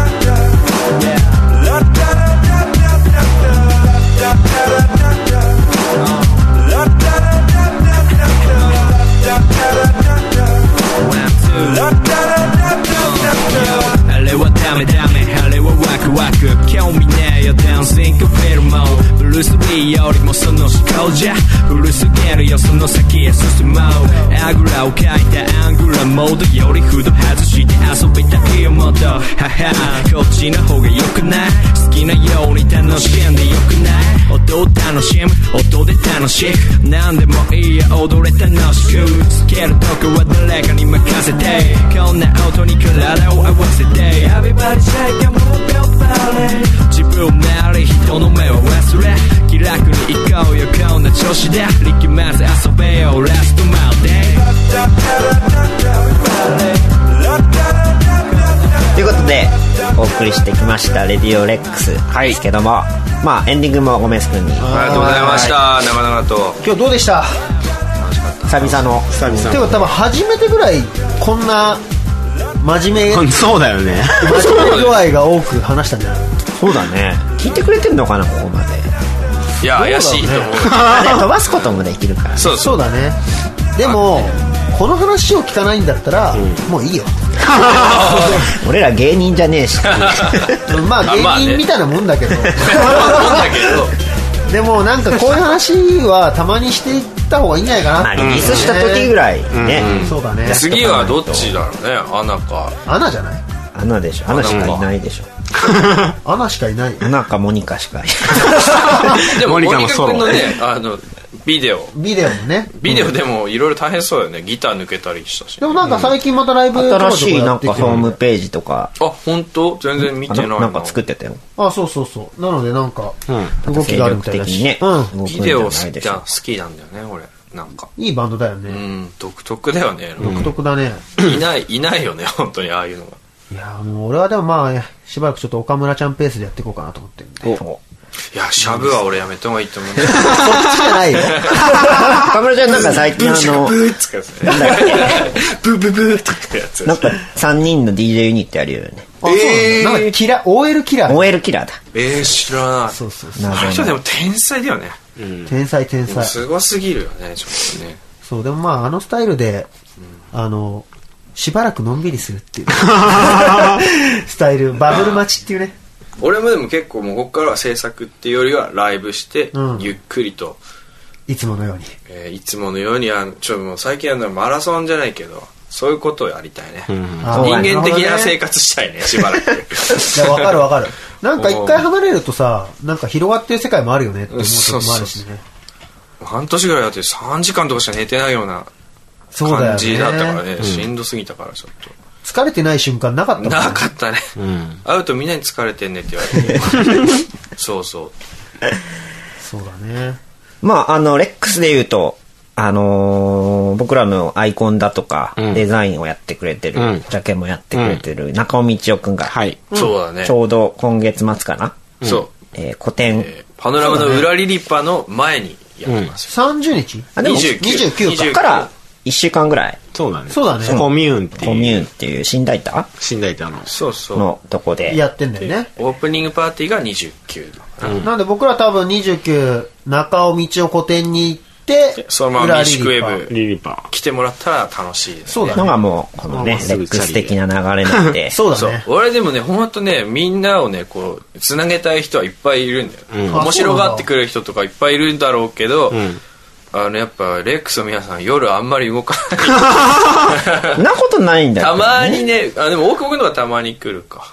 Speaker 6: I live with dame dame, I live with waku waku 興味ねえよ Dancing フェルモンブルース・リーよりもその思考じゃ古すぎるよその先へ進もうあぐらをかいたアングラモードよりフード外して遊びたいよもっとははこっちの方が良くない好きなように楽しんでよくない音を楽しむ音で楽しく何でもいいや踊れ楽しくつけるとこは誰かに任せてこんな音に体を合わせて Everybody shake a move your body 自分なり人の目を忘れ気楽に行こうよこんな調子で力まず遊べよラストマウデイ
Speaker 2: ということでお送りしてきました「レディオレックス」ですけども、まあエンディングもゴメス君に
Speaker 5: ありがとうございました。長々と。
Speaker 1: 今日どうでした
Speaker 2: 久々の
Speaker 3: 久々
Speaker 1: てか多分初めてぐらい、こんな、真面目、
Speaker 3: うん そうだよね。
Speaker 1: 真面目具合が多く話したんじゃない
Speaker 2: そうだね聞いてくれてんのかなここまで
Speaker 5: いや、怪しいと思う。
Speaker 2: あれ飛ばすこともできるから
Speaker 5: そうそ
Speaker 1: そう
Speaker 5: う。
Speaker 1: だね。でも、この話を聞かないんだったら、もういいよ。
Speaker 2: 俺ら芸人じゃねえし
Speaker 1: まあ
Speaker 5: あまあね
Speaker 1: 芸人みたいなもんだ けど。
Speaker 5: 思うんだけど。
Speaker 1: でもなんかこういう話はたまにしていった方がいいんじゃないかな。
Speaker 2: まあリリースした時ぐらいね、
Speaker 1: そうだね。
Speaker 5: 次はどっちだろうね。アナか。
Speaker 1: アナじゃない
Speaker 2: アナでしょアナしかいないでしょ
Speaker 1: アナしかいないよ
Speaker 2: ア。ナかモニカしかいない
Speaker 5: でも、
Speaker 3: モ
Speaker 5: モ
Speaker 3: ニ
Speaker 5: ニ
Speaker 3: カ
Speaker 5: カ
Speaker 3: のソロ
Speaker 5: 君のね、あの、ビデオ。
Speaker 1: ビデオもね。
Speaker 5: ビデオでもいろいろ大変そうだよね。ギター抜けたりしたし
Speaker 1: で。もなんか最近またライブ
Speaker 2: 新しいなんかホーム
Speaker 1: ペ
Speaker 2: ページとか
Speaker 5: あ、本当全然見てない
Speaker 2: な
Speaker 5: な。
Speaker 2: なんか作ってたよ
Speaker 1: あ、そうそうそう。なのでなんか、動き
Speaker 2: 精
Speaker 1: があるみた
Speaker 2: 力
Speaker 1: い
Speaker 2: 的
Speaker 1: だし。
Speaker 2: にね、
Speaker 1: う
Speaker 2: 動くん
Speaker 5: ビ
Speaker 2: じ
Speaker 5: デ
Speaker 2: ゃ
Speaker 5: オ好
Speaker 2: ない
Speaker 5: き
Speaker 2: でしょ
Speaker 5: だ好きなんだよね、俺。なんか。
Speaker 1: ん。いいバンドだよ
Speaker 5: う
Speaker 1: ね。
Speaker 5: ん、独特だよね。
Speaker 1: 独特だね。
Speaker 5: いない、いないよね、本当に、ああいうのが。
Speaker 1: いやもう俺はでもまあ、しばらくちょっと岡村ちゃんペースでやっていこうかなと思ってるんで。そっ
Speaker 5: いや、シャブは俺やめた方がいいと思うね。
Speaker 1: ちじゃないよ。
Speaker 2: 岡村ちゃんなんか最近あの
Speaker 5: ブーっつかですね。ブーブーブーとかってやつ
Speaker 2: な。んか3人の DJ ユニットやるよね
Speaker 1: あ、そうなのなんかキラ、OL キラー。
Speaker 2: OL キラーだ
Speaker 5: えー、知らない。
Speaker 1: そうそうそう。
Speaker 5: あの人でも天才だよね。
Speaker 1: 天才天才。
Speaker 5: すごすぎるよね、ちょっとね。
Speaker 1: そう、でもまあ、あのスタイルで、あの、しばらくのんびりする っていう、スタイル、バブル待ちっていうね。
Speaker 5: 俺もでも結構もうここからは制作っていうよりはライブして、
Speaker 1: うん
Speaker 5: ゆっくりと、
Speaker 1: いつものように。
Speaker 5: えーいつものようにあのちょもう最近はねマラソンじゃないけどそういうことをやりたいね、
Speaker 1: あー
Speaker 5: 人間的な生
Speaker 1: る
Speaker 5: 活したいねしばらく
Speaker 1: ほどねいや、わかるわかる。なんか一回離れるとさ、なんか広がってる世界もあるよねって思う時もあるしね。
Speaker 5: 半年ぐらいだって3時間とかしか寝てないような
Speaker 1: そうだよね。
Speaker 5: 感じだったからねしんどすぎたからちょっ
Speaker 1: 疲れてない瞬間なかったも
Speaker 5: と
Speaker 1: ん
Speaker 5: なかったね、
Speaker 3: ん
Speaker 5: 会うとみんなに疲れてんねって言われて そうそう
Speaker 1: そうだね。
Speaker 2: まあ、あの、レックスで言うと、あのー僕らのアイコンだとか、
Speaker 3: うん
Speaker 2: デザインをやってくれてる、
Speaker 3: うん
Speaker 2: ジャケもやってくれてる、中尾道夫くんが、
Speaker 3: はい。
Speaker 5: そうだね
Speaker 2: ちょうど今月末かな、
Speaker 5: そう、
Speaker 2: えー個展、
Speaker 5: えーパノラマの裏リリパの前にやってますよ
Speaker 1: 30日
Speaker 2: あでも
Speaker 5: 29
Speaker 1: ?29
Speaker 5: 29
Speaker 1: か。
Speaker 2: から1週間ぐらい
Speaker 3: そうだね。
Speaker 1: そうだね
Speaker 3: コミューンって
Speaker 2: コミ
Speaker 3: いう、
Speaker 2: ューンっていう新大田
Speaker 3: 死んだいたの。
Speaker 5: そうそう
Speaker 2: のとこで。
Speaker 1: やってんだよね。
Speaker 5: オープニングパーティーが29
Speaker 1: なんで僕ら多分29、中尾道を古典に行って、
Speaker 5: そのままミシクウ
Speaker 1: 裏リリ
Speaker 5: ェブ
Speaker 3: リリパ
Speaker 5: 来てもらったら楽しいです
Speaker 1: そうだ
Speaker 2: の
Speaker 1: ね。
Speaker 2: がもう、このね、
Speaker 3: ま
Speaker 2: レ
Speaker 3: あすぐ
Speaker 2: ック
Speaker 3: チャ
Speaker 2: ス
Speaker 3: リで
Speaker 2: 的な流れなんで。
Speaker 1: そう
Speaker 5: そ
Speaker 1: だ
Speaker 5: う
Speaker 1: ね。
Speaker 5: 俺でもねほんとねみんなをねこうつなげたい人はいっぱいいるんだよ、
Speaker 1: ん
Speaker 5: 面白がってくれる人とかいっぱいいるんだろうけど、あのやっぱレックスの皆さん夜あんまり動か ない
Speaker 2: そんなことないんだ
Speaker 5: た
Speaker 2: よ。
Speaker 5: まにねあでも大久保のがたまに来るか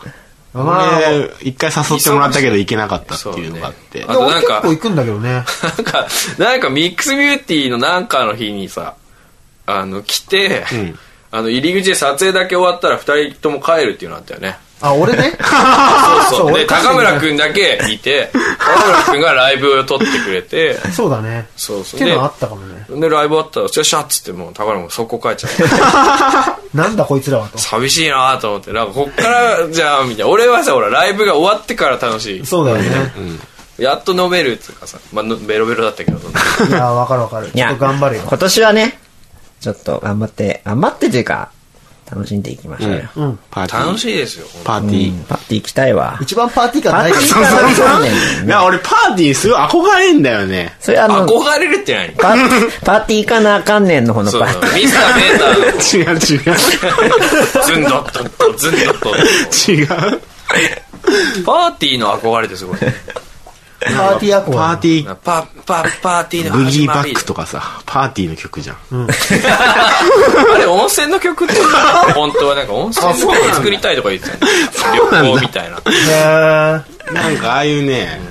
Speaker 1: まあ、
Speaker 3: ー。で、一回誘ってもらったけど行けなかったっていうのがあって。
Speaker 5: そう
Speaker 1: で
Speaker 5: ねあと
Speaker 1: も
Speaker 5: なん
Speaker 1: 結
Speaker 5: か
Speaker 1: 構行くんだけどね。
Speaker 5: なんかなんかミックスビューティーのなんかの日にさあの来て、
Speaker 3: ん
Speaker 5: あの入り口で撮影だけ終わったら2人とも帰るっていうのあったよね
Speaker 1: あ、俺ね。
Speaker 5: そう
Speaker 1: そ
Speaker 5: そうう
Speaker 1: 俺
Speaker 5: で
Speaker 1: 帰って
Speaker 5: 高村君だけいて高村君がライブを撮ってくれて
Speaker 1: そうだね。
Speaker 5: そうそう
Speaker 1: っていうのはあ
Speaker 5: で
Speaker 1: ったかもね。
Speaker 5: でライブ終わったら「よっしゃ」っつってもう高村もそこ帰っちゃって
Speaker 1: なんだこいつらはと。
Speaker 5: 寂しいなと思ってなんかこっからじゃあみたいな俺はさほらライブが終わってから楽し
Speaker 1: そうだよね。
Speaker 5: いやっと飲めるっつうかさ、まあ、のベロベロだったけど
Speaker 1: いや、わかるわかる。
Speaker 2: い
Speaker 1: ちょっ
Speaker 2: や、
Speaker 1: と頑張るよ。
Speaker 2: 今年はね、ちょっと頑張って、頑張ってというか、楽しんでいきましょうよ。
Speaker 1: うん。
Speaker 3: パーティー。
Speaker 5: 楽しいですよ
Speaker 3: パーティー。
Speaker 2: うんパッて行きたいわ。
Speaker 1: 一番パーティー感ないけど
Speaker 2: パーティー感そうね
Speaker 3: いや、俺パーティーすごい憧れんだよね。
Speaker 2: それあの、
Speaker 5: 憧れるって何
Speaker 2: パパーティー行かなあかんねんの方の
Speaker 5: そう
Speaker 2: パー
Speaker 5: そ
Speaker 2: テ
Speaker 5: うミスターメーター
Speaker 3: 違う
Speaker 5: の
Speaker 3: 違う。
Speaker 5: ズンドッとッとズンドッとッ
Speaker 3: 違う。
Speaker 5: とパーティーの憧れってすごいね
Speaker 1: パーティーアコ
Speaker 3: パーティー、
Speaker 5: パパパーティーの
Speaker 3: ブギ
Speaker 5: 始
Speaker 3: ー
Speaker 5: ま
Speaker 3: バ
Speaker 5: り
Speaker 3: ックとかさ、パーティーの曲じゃん。
Speaker 5: あれ温泉の曲って 本当はなんか温泉の曲を作りたいとか言ってたの
Speaker 3: うなんだ
Speaker 5: 旅行みたいな
Speaker 1: ー。へ
Speaker 3: なんかああいうね、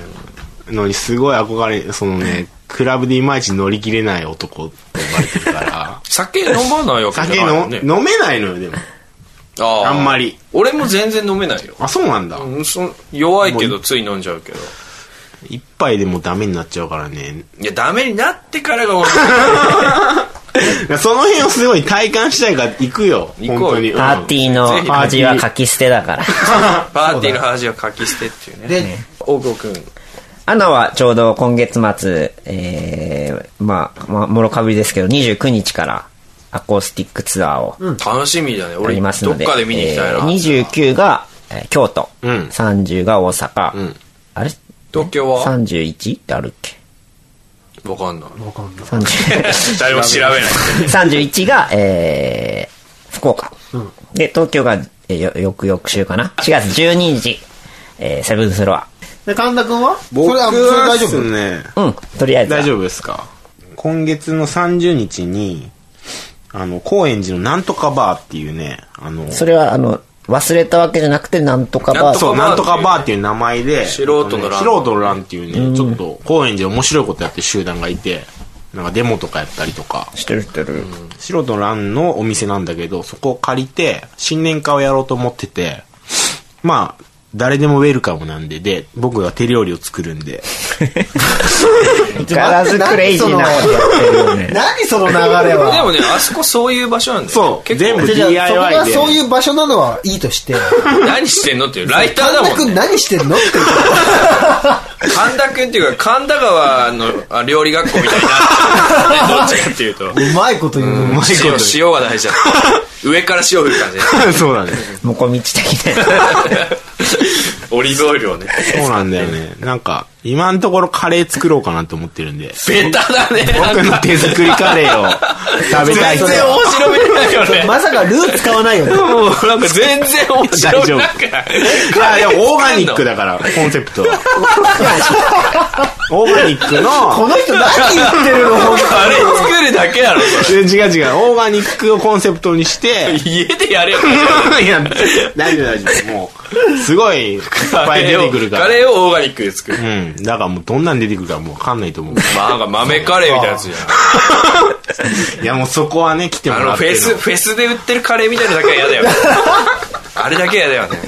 Speaker 3: のにすごい憧れ、そのね、クラブでいまいち乗り切れない男って呼ばれてるから、
Speaker 5: 酒飲まないわけ
Speaker 3: 酒
Speaker 5: じゃないも
Speaker 3: の、
Speaker 5: んね
Speaker 3: 飲めないのよ、でも。
Speaker 5: あー
Speaker 3: あんまり
Speaker 5: 俺も全然飲めないよ
Speaker 3: あ、そうなんだ。
Speaker 5: うんそ弱いけどつい飲んじゃうけど
Speaker 3: 一杯でもダメになっちゃうからね。
Speaker 5: いやダメになってからが面
Speaker 3: その辺をすごい体感したいから行くよ。
Speaker 5: 行こう
Speaker 3: 本当に。
Speaker 2: ィー。
Speaker 5: パ
Speaker 2: パーティー
Speaker 5: ぜひ
Speaker 2: の味は書き捨てだから。
Speaker 5: パーティーの話を書き捨てっていう
Speaker 1: ー
Speaker 5: ね
Speaker 1: で、
Speaker 5: 大久保君
Speaker 2: アナはちょうど今月末、えー、まあ、まあ、もろかぶりですけど、29日からアコースティックツアーを
Speaker 5: 楽しみだね
Speaker 2: やり
Speaker 5: 俺ど
Speaker 2: ますの
Speaker 5: っ
Speaker 2: で、
Speaker 5: かで見に行きたいな、
Speaker 2: えー29が、えー京都、
Speaker 3: うん
Speaker 2: 30が大阪、
Speaker 3: ん
Speaker 2: あれ
Speaker 5: 東京は
Speaker 2: ?31 ってあるっけ
Speaker 5: わかんない
Speaker 1: ー。わかんない。
Speaker 2: 30
Speaker 5: 誰も調べない
Speaker 2: 31が、えー、福岡、で、東京が、えーよ、よくよく週かな。4月12日、えー、セブンスロア。
Speaker 1: で、神田くんは
Speaker 3: 僕
Speaker 1: それは、それ
Speaker 3: は
Speaker 1: 大丈
Speaker 3: です
Speaker 1: 夫
Speaker 3: ね、
Speaker 2: うん、とりあえずは。
Speaker 3: 大丈夫ですか今月の30日に、あの、高円寺のなんとかバーっていうね、あの、
Speaker 2: それは、あの、忘れたわけじゃなくて、なんとか
Speaker 5: なん
Speaker 2: ば
Speaker 5: と、
Speaker 3: そう、な
Speaker 5: なんん
Speaker 3: と
Speaker 5: と
Speaker 3: か
Speaker 5: か
Speaker 3: バ
Speaker 5: バ
Speaker 3: ーっていう名前で、
Speaker 5: 素人の欄
Speaker 3: 素人の欄っていうね、ちょっと、高円寺で面白いことやってる集団がいて、なんかデモとかやったりとか、
Speaker 2: 知ってる知ってる。
Speaker 3: 素人の欄のお店なんだけど、そこを借りて、新年会をやろうと思ってて、まあ、誰でもウェルカムなんで、で、僕が手料理を作るんで、
Speaker 2: ガラスクレイジーなことやってるよね。
Speaker 1: 何その流れ
Speaker 5: で
Speaker 1: は。
Speaker 5: もねあそこそういう場所なんだよ
Speaker 3: そう
Speaker 5: 結構
Speaker 3: 全部
Speaker 1: じゃあじゃあ
Speaker 3: DIY で
Speaker 1: そこがそういう場所なのはいいとして。
Speaker 5: 何してんのっていうライターだ
Speaker 1: 神田
Speaker 5: も
Speaker 1: く
Speaker 5: ん
Speaker 1: ん
Speaker 5: ね
Speaker 1: 何してんのって言うから
Speaker 5: 神田君っていうか神田川のあ料理学校みたいになって るねどっちかっていうと
Speaker 1: うまいこと言う
Speaker 3: うまいこと
Speaker 5: 塩塩が大事だ上から塩振る感じ
Speaker 3: そうだね。
Speaker 2: もこみち的 な。
Speaker 5: オリーブオイルをね
Speaker 3: そうなんだよね。なんか、今のところカレー作ろうかなと思ってるんで、
Speaker 5: ベタだねなん
Speaker 3: 僕
Speaker 5: か
Speaker 3: の手作りカレーを食べたい
Speaker 5: 全然面白みないよね
Speaker 1: まさかルー使わないよね。
Speaker 5: もうなんか全然面白くなくない
Speaker 3: いや、でもオーガニックだから、コンセプトは。オーガニックの、
Speaker 1: この人何言ってるの本
Speaker 5: カレー作るだけやろそ
Speaker 3: 違う違う、オーガニックをコンセプトにして
Speaker 5: れ、家でやれよ
Speaker 3: いや、大丈夫大丈夫、もう、すごい、いっぱい出てくるから
Speaker 5: カ。レーをオーガニックで作る
Speaker 3: うん。だからもうどんなん出てくるかもうわかんないと思う。
Speaker 5: まあなんか豆カレーみたいなやつじゃん
Speaker 3: いやもうそこはね、来ても
Speaker 5: あ
Speaker 3: ら
Speaker 5: の
Speaker 3: っ
Speaker 5: フ
Speaker 3: て
Speaker 5: ェ
Speaker 3: る
Speaker 5: ス、フェスで売ってるカレーみたいなだけは 嫌だよね。あれだけは嫌だよね。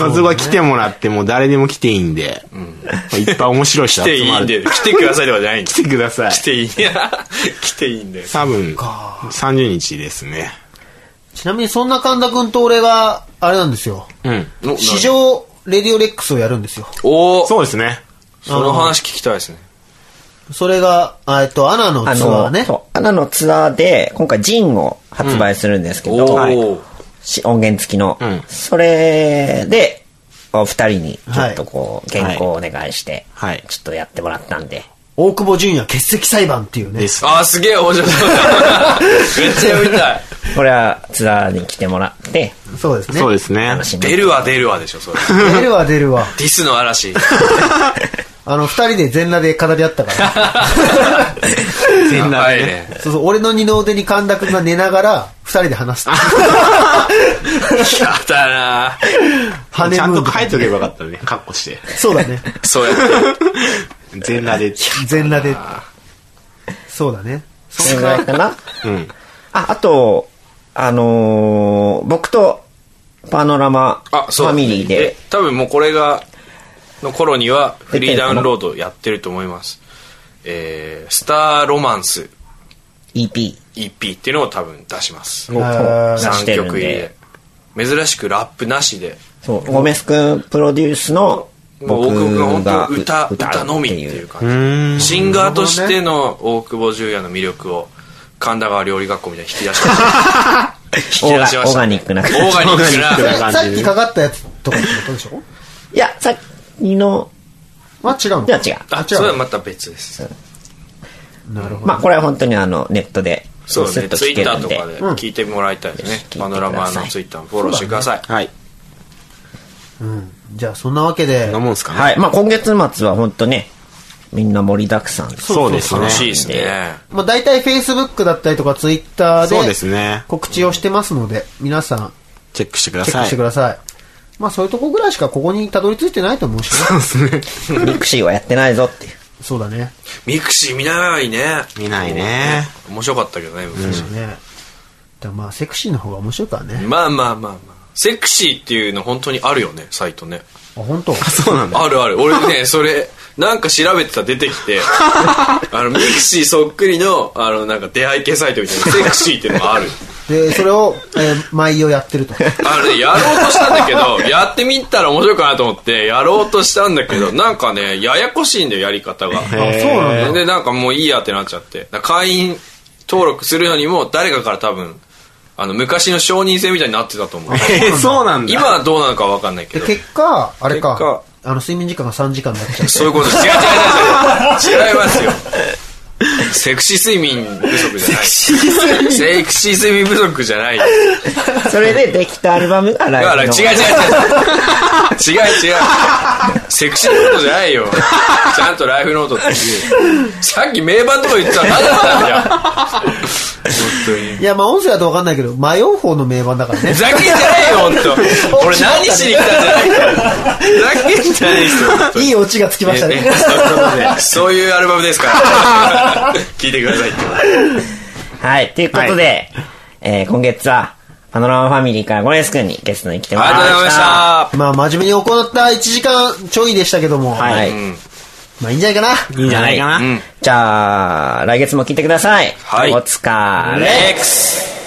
Speaker 3: まあそこは来てもらって、もう誰でも来ていいんで。まあいっぱい面白い人
Speaker 5: 来て
Speaker 3: 集
Speaker 5: い
Speaker 3: ま
Speaker 5: い
Speaker 3: る。
Speaker 5: んで、 来てくださいとかじゃないんで
Speaker 3: 来。てください。
Speaker 5: 来ていいんだ。 来ていいんだよ。
Speaker 3: 多分、30日ですね。
Speaker 1: ちなみにそんな神田くんと俺が、あれなんですよ。
Speaker 3: うん。
Speaker 1: 史上、レディオレックスをやるんですよ。
Speaker 5: おお、そ
Speaker 3: そうですね。
Speaker 5: の話聞きたいですね。
Speaker 1: それが、あえっと、アナの
Speaker 2: あ
Speaker 1: ツアー
Speaker 2: の、
Speaker 1: ね。
Speaker 2: そナのツアーで、今回ジンを発売するんですけど、
Speaker 5: お
Speaker 2: はい
Speaker 5: ー
Speaker 2: し音源付きの。
Speaker 3: うん
Speaker 2: それで、お二人に、ちょっとこう、
Speaker 3: はい
Speaker 2: 原稿をお願いして、
Speaker 3: はい
Speaker 2: ちょっとやってもらったんで、
Speaker 1: 大久保純也欠席裁判っていうね。
Speaker 3: です。
Speaker 5: あーすげえ面 白そうだめっちゃ読みたい
Speaker 2: これはツアーに来てもらって、
Speaker 1: そうですね。
Speaker 3: そうですね
Speaker 2: 楽。しんで
Speaker 5: 出るわ出るわでしょそれ
Speaker 1: 出るわ出るわ。
Speaker 5: ディスの嵐
Speaker 1: あの、二人で全裸で語り合った から。
Speaker 5: 全裸でね
Speaker 1: そうそう、俺の二の腕に神田くんが寝ながら、二人で話す。
Speaker 5: やだな
Speaker 1: ハネ
Speaker 3: ちゃん
Speaker 1: ムーン
Speaker 3: と書いとけばよかったね。カッコして。
Speaker 1: そう だね。
Speaker 5: そうやって
Speaker 3: 全裸で。
Speaker 1: 全裸で。そうだね。
Speaker 2: それぐらいかな。
Speaker 3: うん。
Speaker 2: あ、あと、あのー僕とパノラマフ
Speaker 5: あそう
Speaker 2: ァミリーで
Speaker 5: え、多分もうこれがの頃にはフリーダウンロードやってると思いますえー、スターロマンス
Speaker 2: EP
Speaker 5: EP っていうのを多分出します
Speaker 2: を
Speaker 1: あ
Speaker 2: 出し
Speaker 5: 3
Speaker 2: てるん
Speaker 5: 曲入り
Speaker 2: で
Speaker 5: で、珍しくラップなしで
Speaker 2: そう、ゴメス君プロデュースの
Speaker 5: もう大久保
Speaker 2: 僕
Speaker 5: 君
Speaker 2: が
Speaker 5: は本当歌歌
Speaker 2: 歌う
Speaker 5: のみって
Speaker 2: って
Speaker 5: い
Speaker 2: いう
Speaker 5: う感じシンガーとしての大久保純也の魅力を神田川料理学校みたいに引き出して 引き出しました
Speaker 2: オーガニックな
Speaker 5: オーガニック
Speaker 3: オーガニックな
Speaker 5: な
Speaker 1: ささっきかかったやつとかってことでしょ
Speaker 2: いや、さっきの、
Speaker 1: まあ違うの
Speaker 2: じゃあ違う。
Speaker 5: あそれはまた別です
Speaker 1: なるほど。
Speaker 2: まあ、これは本当にあの、ネットで、
Speaker 5: そうですねツイッターとかで
Speaker 2: で。
Speaker 5: 聞いてもらいたいですね、
Speaker 2: うん
Speaker 5: パノラマのツイッターもフォローしてください、
Speaker 3: はい。
Speaker 1: うん。じゃあそんなわけで
Speaker 3: そんな、もんすかね。
Speaker 2: はい。まあ、今月末は本当ね、みんな盛りだくさんです。
Speaker 3: そうですね。
Speaker 5: 楽しいですね
Speaker 1: まあ大体 Facebook だったりとか Twitter
Speaker 3: そうです
Speaker 1: で
Speaker 3: ね。
Speaker 1: 告知をしてますので、皆さん
Speaker 3: チェックしてくだ
Speaker 1: チェッ
Speaker 3: さ
Speaker 1: ク
Speaker 3: い。
Speaker 1: してください。まあそういうとこぐらいしかここにたどり着いてないと思うしね。
Speaker 2: ミクシーはやってないぞっていう。
Speaker 1: そうだね。
Speaker 5: ミクシー見ないね
Speaker 3: 見ないね。
Speaker 5: 面白かったけどね昔、
Speaker 1: ね。だからまあセクシーの方が面白いからね。
Speaker 5: まあまあまあまあセクシーっていうの本当にあるよねサイトね
Speaker 1: あ、本当。
Speaker 3: そうなんだ。
Speaker 5: あるある俺ねそれなんか調べてたら出てきてあのミクシーそっくりのあのなんか出会い系サイトみたいなセクシーっていうのがある
Speaker 1: で、それを、えー、毎夜やってると。
Speaker 5: あのねやろうとしたんだけどやってみたら面白いかなと思ってやろうとしたんだけどなんかねややこしいんだよやり方が
Speaker 1: あ、そうなんだ。
Speaker 5: でなんかもういいやってなっちゃってだから会員登録するのにも誰かから多分あの昔の承認制みたいになってたと思う
Speaker 3: えーそうなんだ。
Speaker 5: 今はどうなのか分かんないけ
Speaker 1: で、
Speaker 5: ど
Speaker 1: 結果、あれ
Speaker 5: 結果
Speaker 1: か、あの、睡眠時間が3時間になっちゃう。
Speaker 5: そういうことです違う違う違う違う違いますよセクシー睡眠不足じゃないセクシー睡眠不足じゃない
Speaker 2: それでできたアルバムが
Speaker 5: だ
Speaker 2: ラ
Speaker 5: から
Speaker 2: イ
Speaker 5: 違う
Speaker 2: ブ
Speaker 5: 違う
Speaker 2: の。
Speaker 5: 違う違う違う違うセクシーのことじゃないよちゃんとライフノートっていうさっき名盤とか言ってたら何だったんだよ本当に
Speaker 1: いや、まあ音声だとわかんないけど、迷う方の名盤だからね
Speaker 5: ふ。ざけんじゃないよ、ほんと。俺何しに来たんじゃないから。ふざけんじゃないですよ。
Speaker 1: いいオチがつきましたね。
Speaker 5: ねそういうアルバムですから。聞いてくださいって。
Speaker 2: はい。ということで、えー今月は、パノラマファミリーからゴレス君にゲストに来てもら
Speaker 5: あ
Speaker 2: い
Speaker 5: り
Speaker 2: ま
Speaker 5: がとうございま
Speaker 2: し。
Speaker 5: したた。
Speaker 1: まあ真面目に行った1時間ちょいでしたけども、
Speaker 2: はい。
Speaker 1: まあいいんじゃないかな。
Speaker 3: いいんじゃないかな。
Speaker 2: じゃあ、来月も聞いてください。
Speaker 5: はい
Speaker 2: お疲れ。
Speaker 5: レックス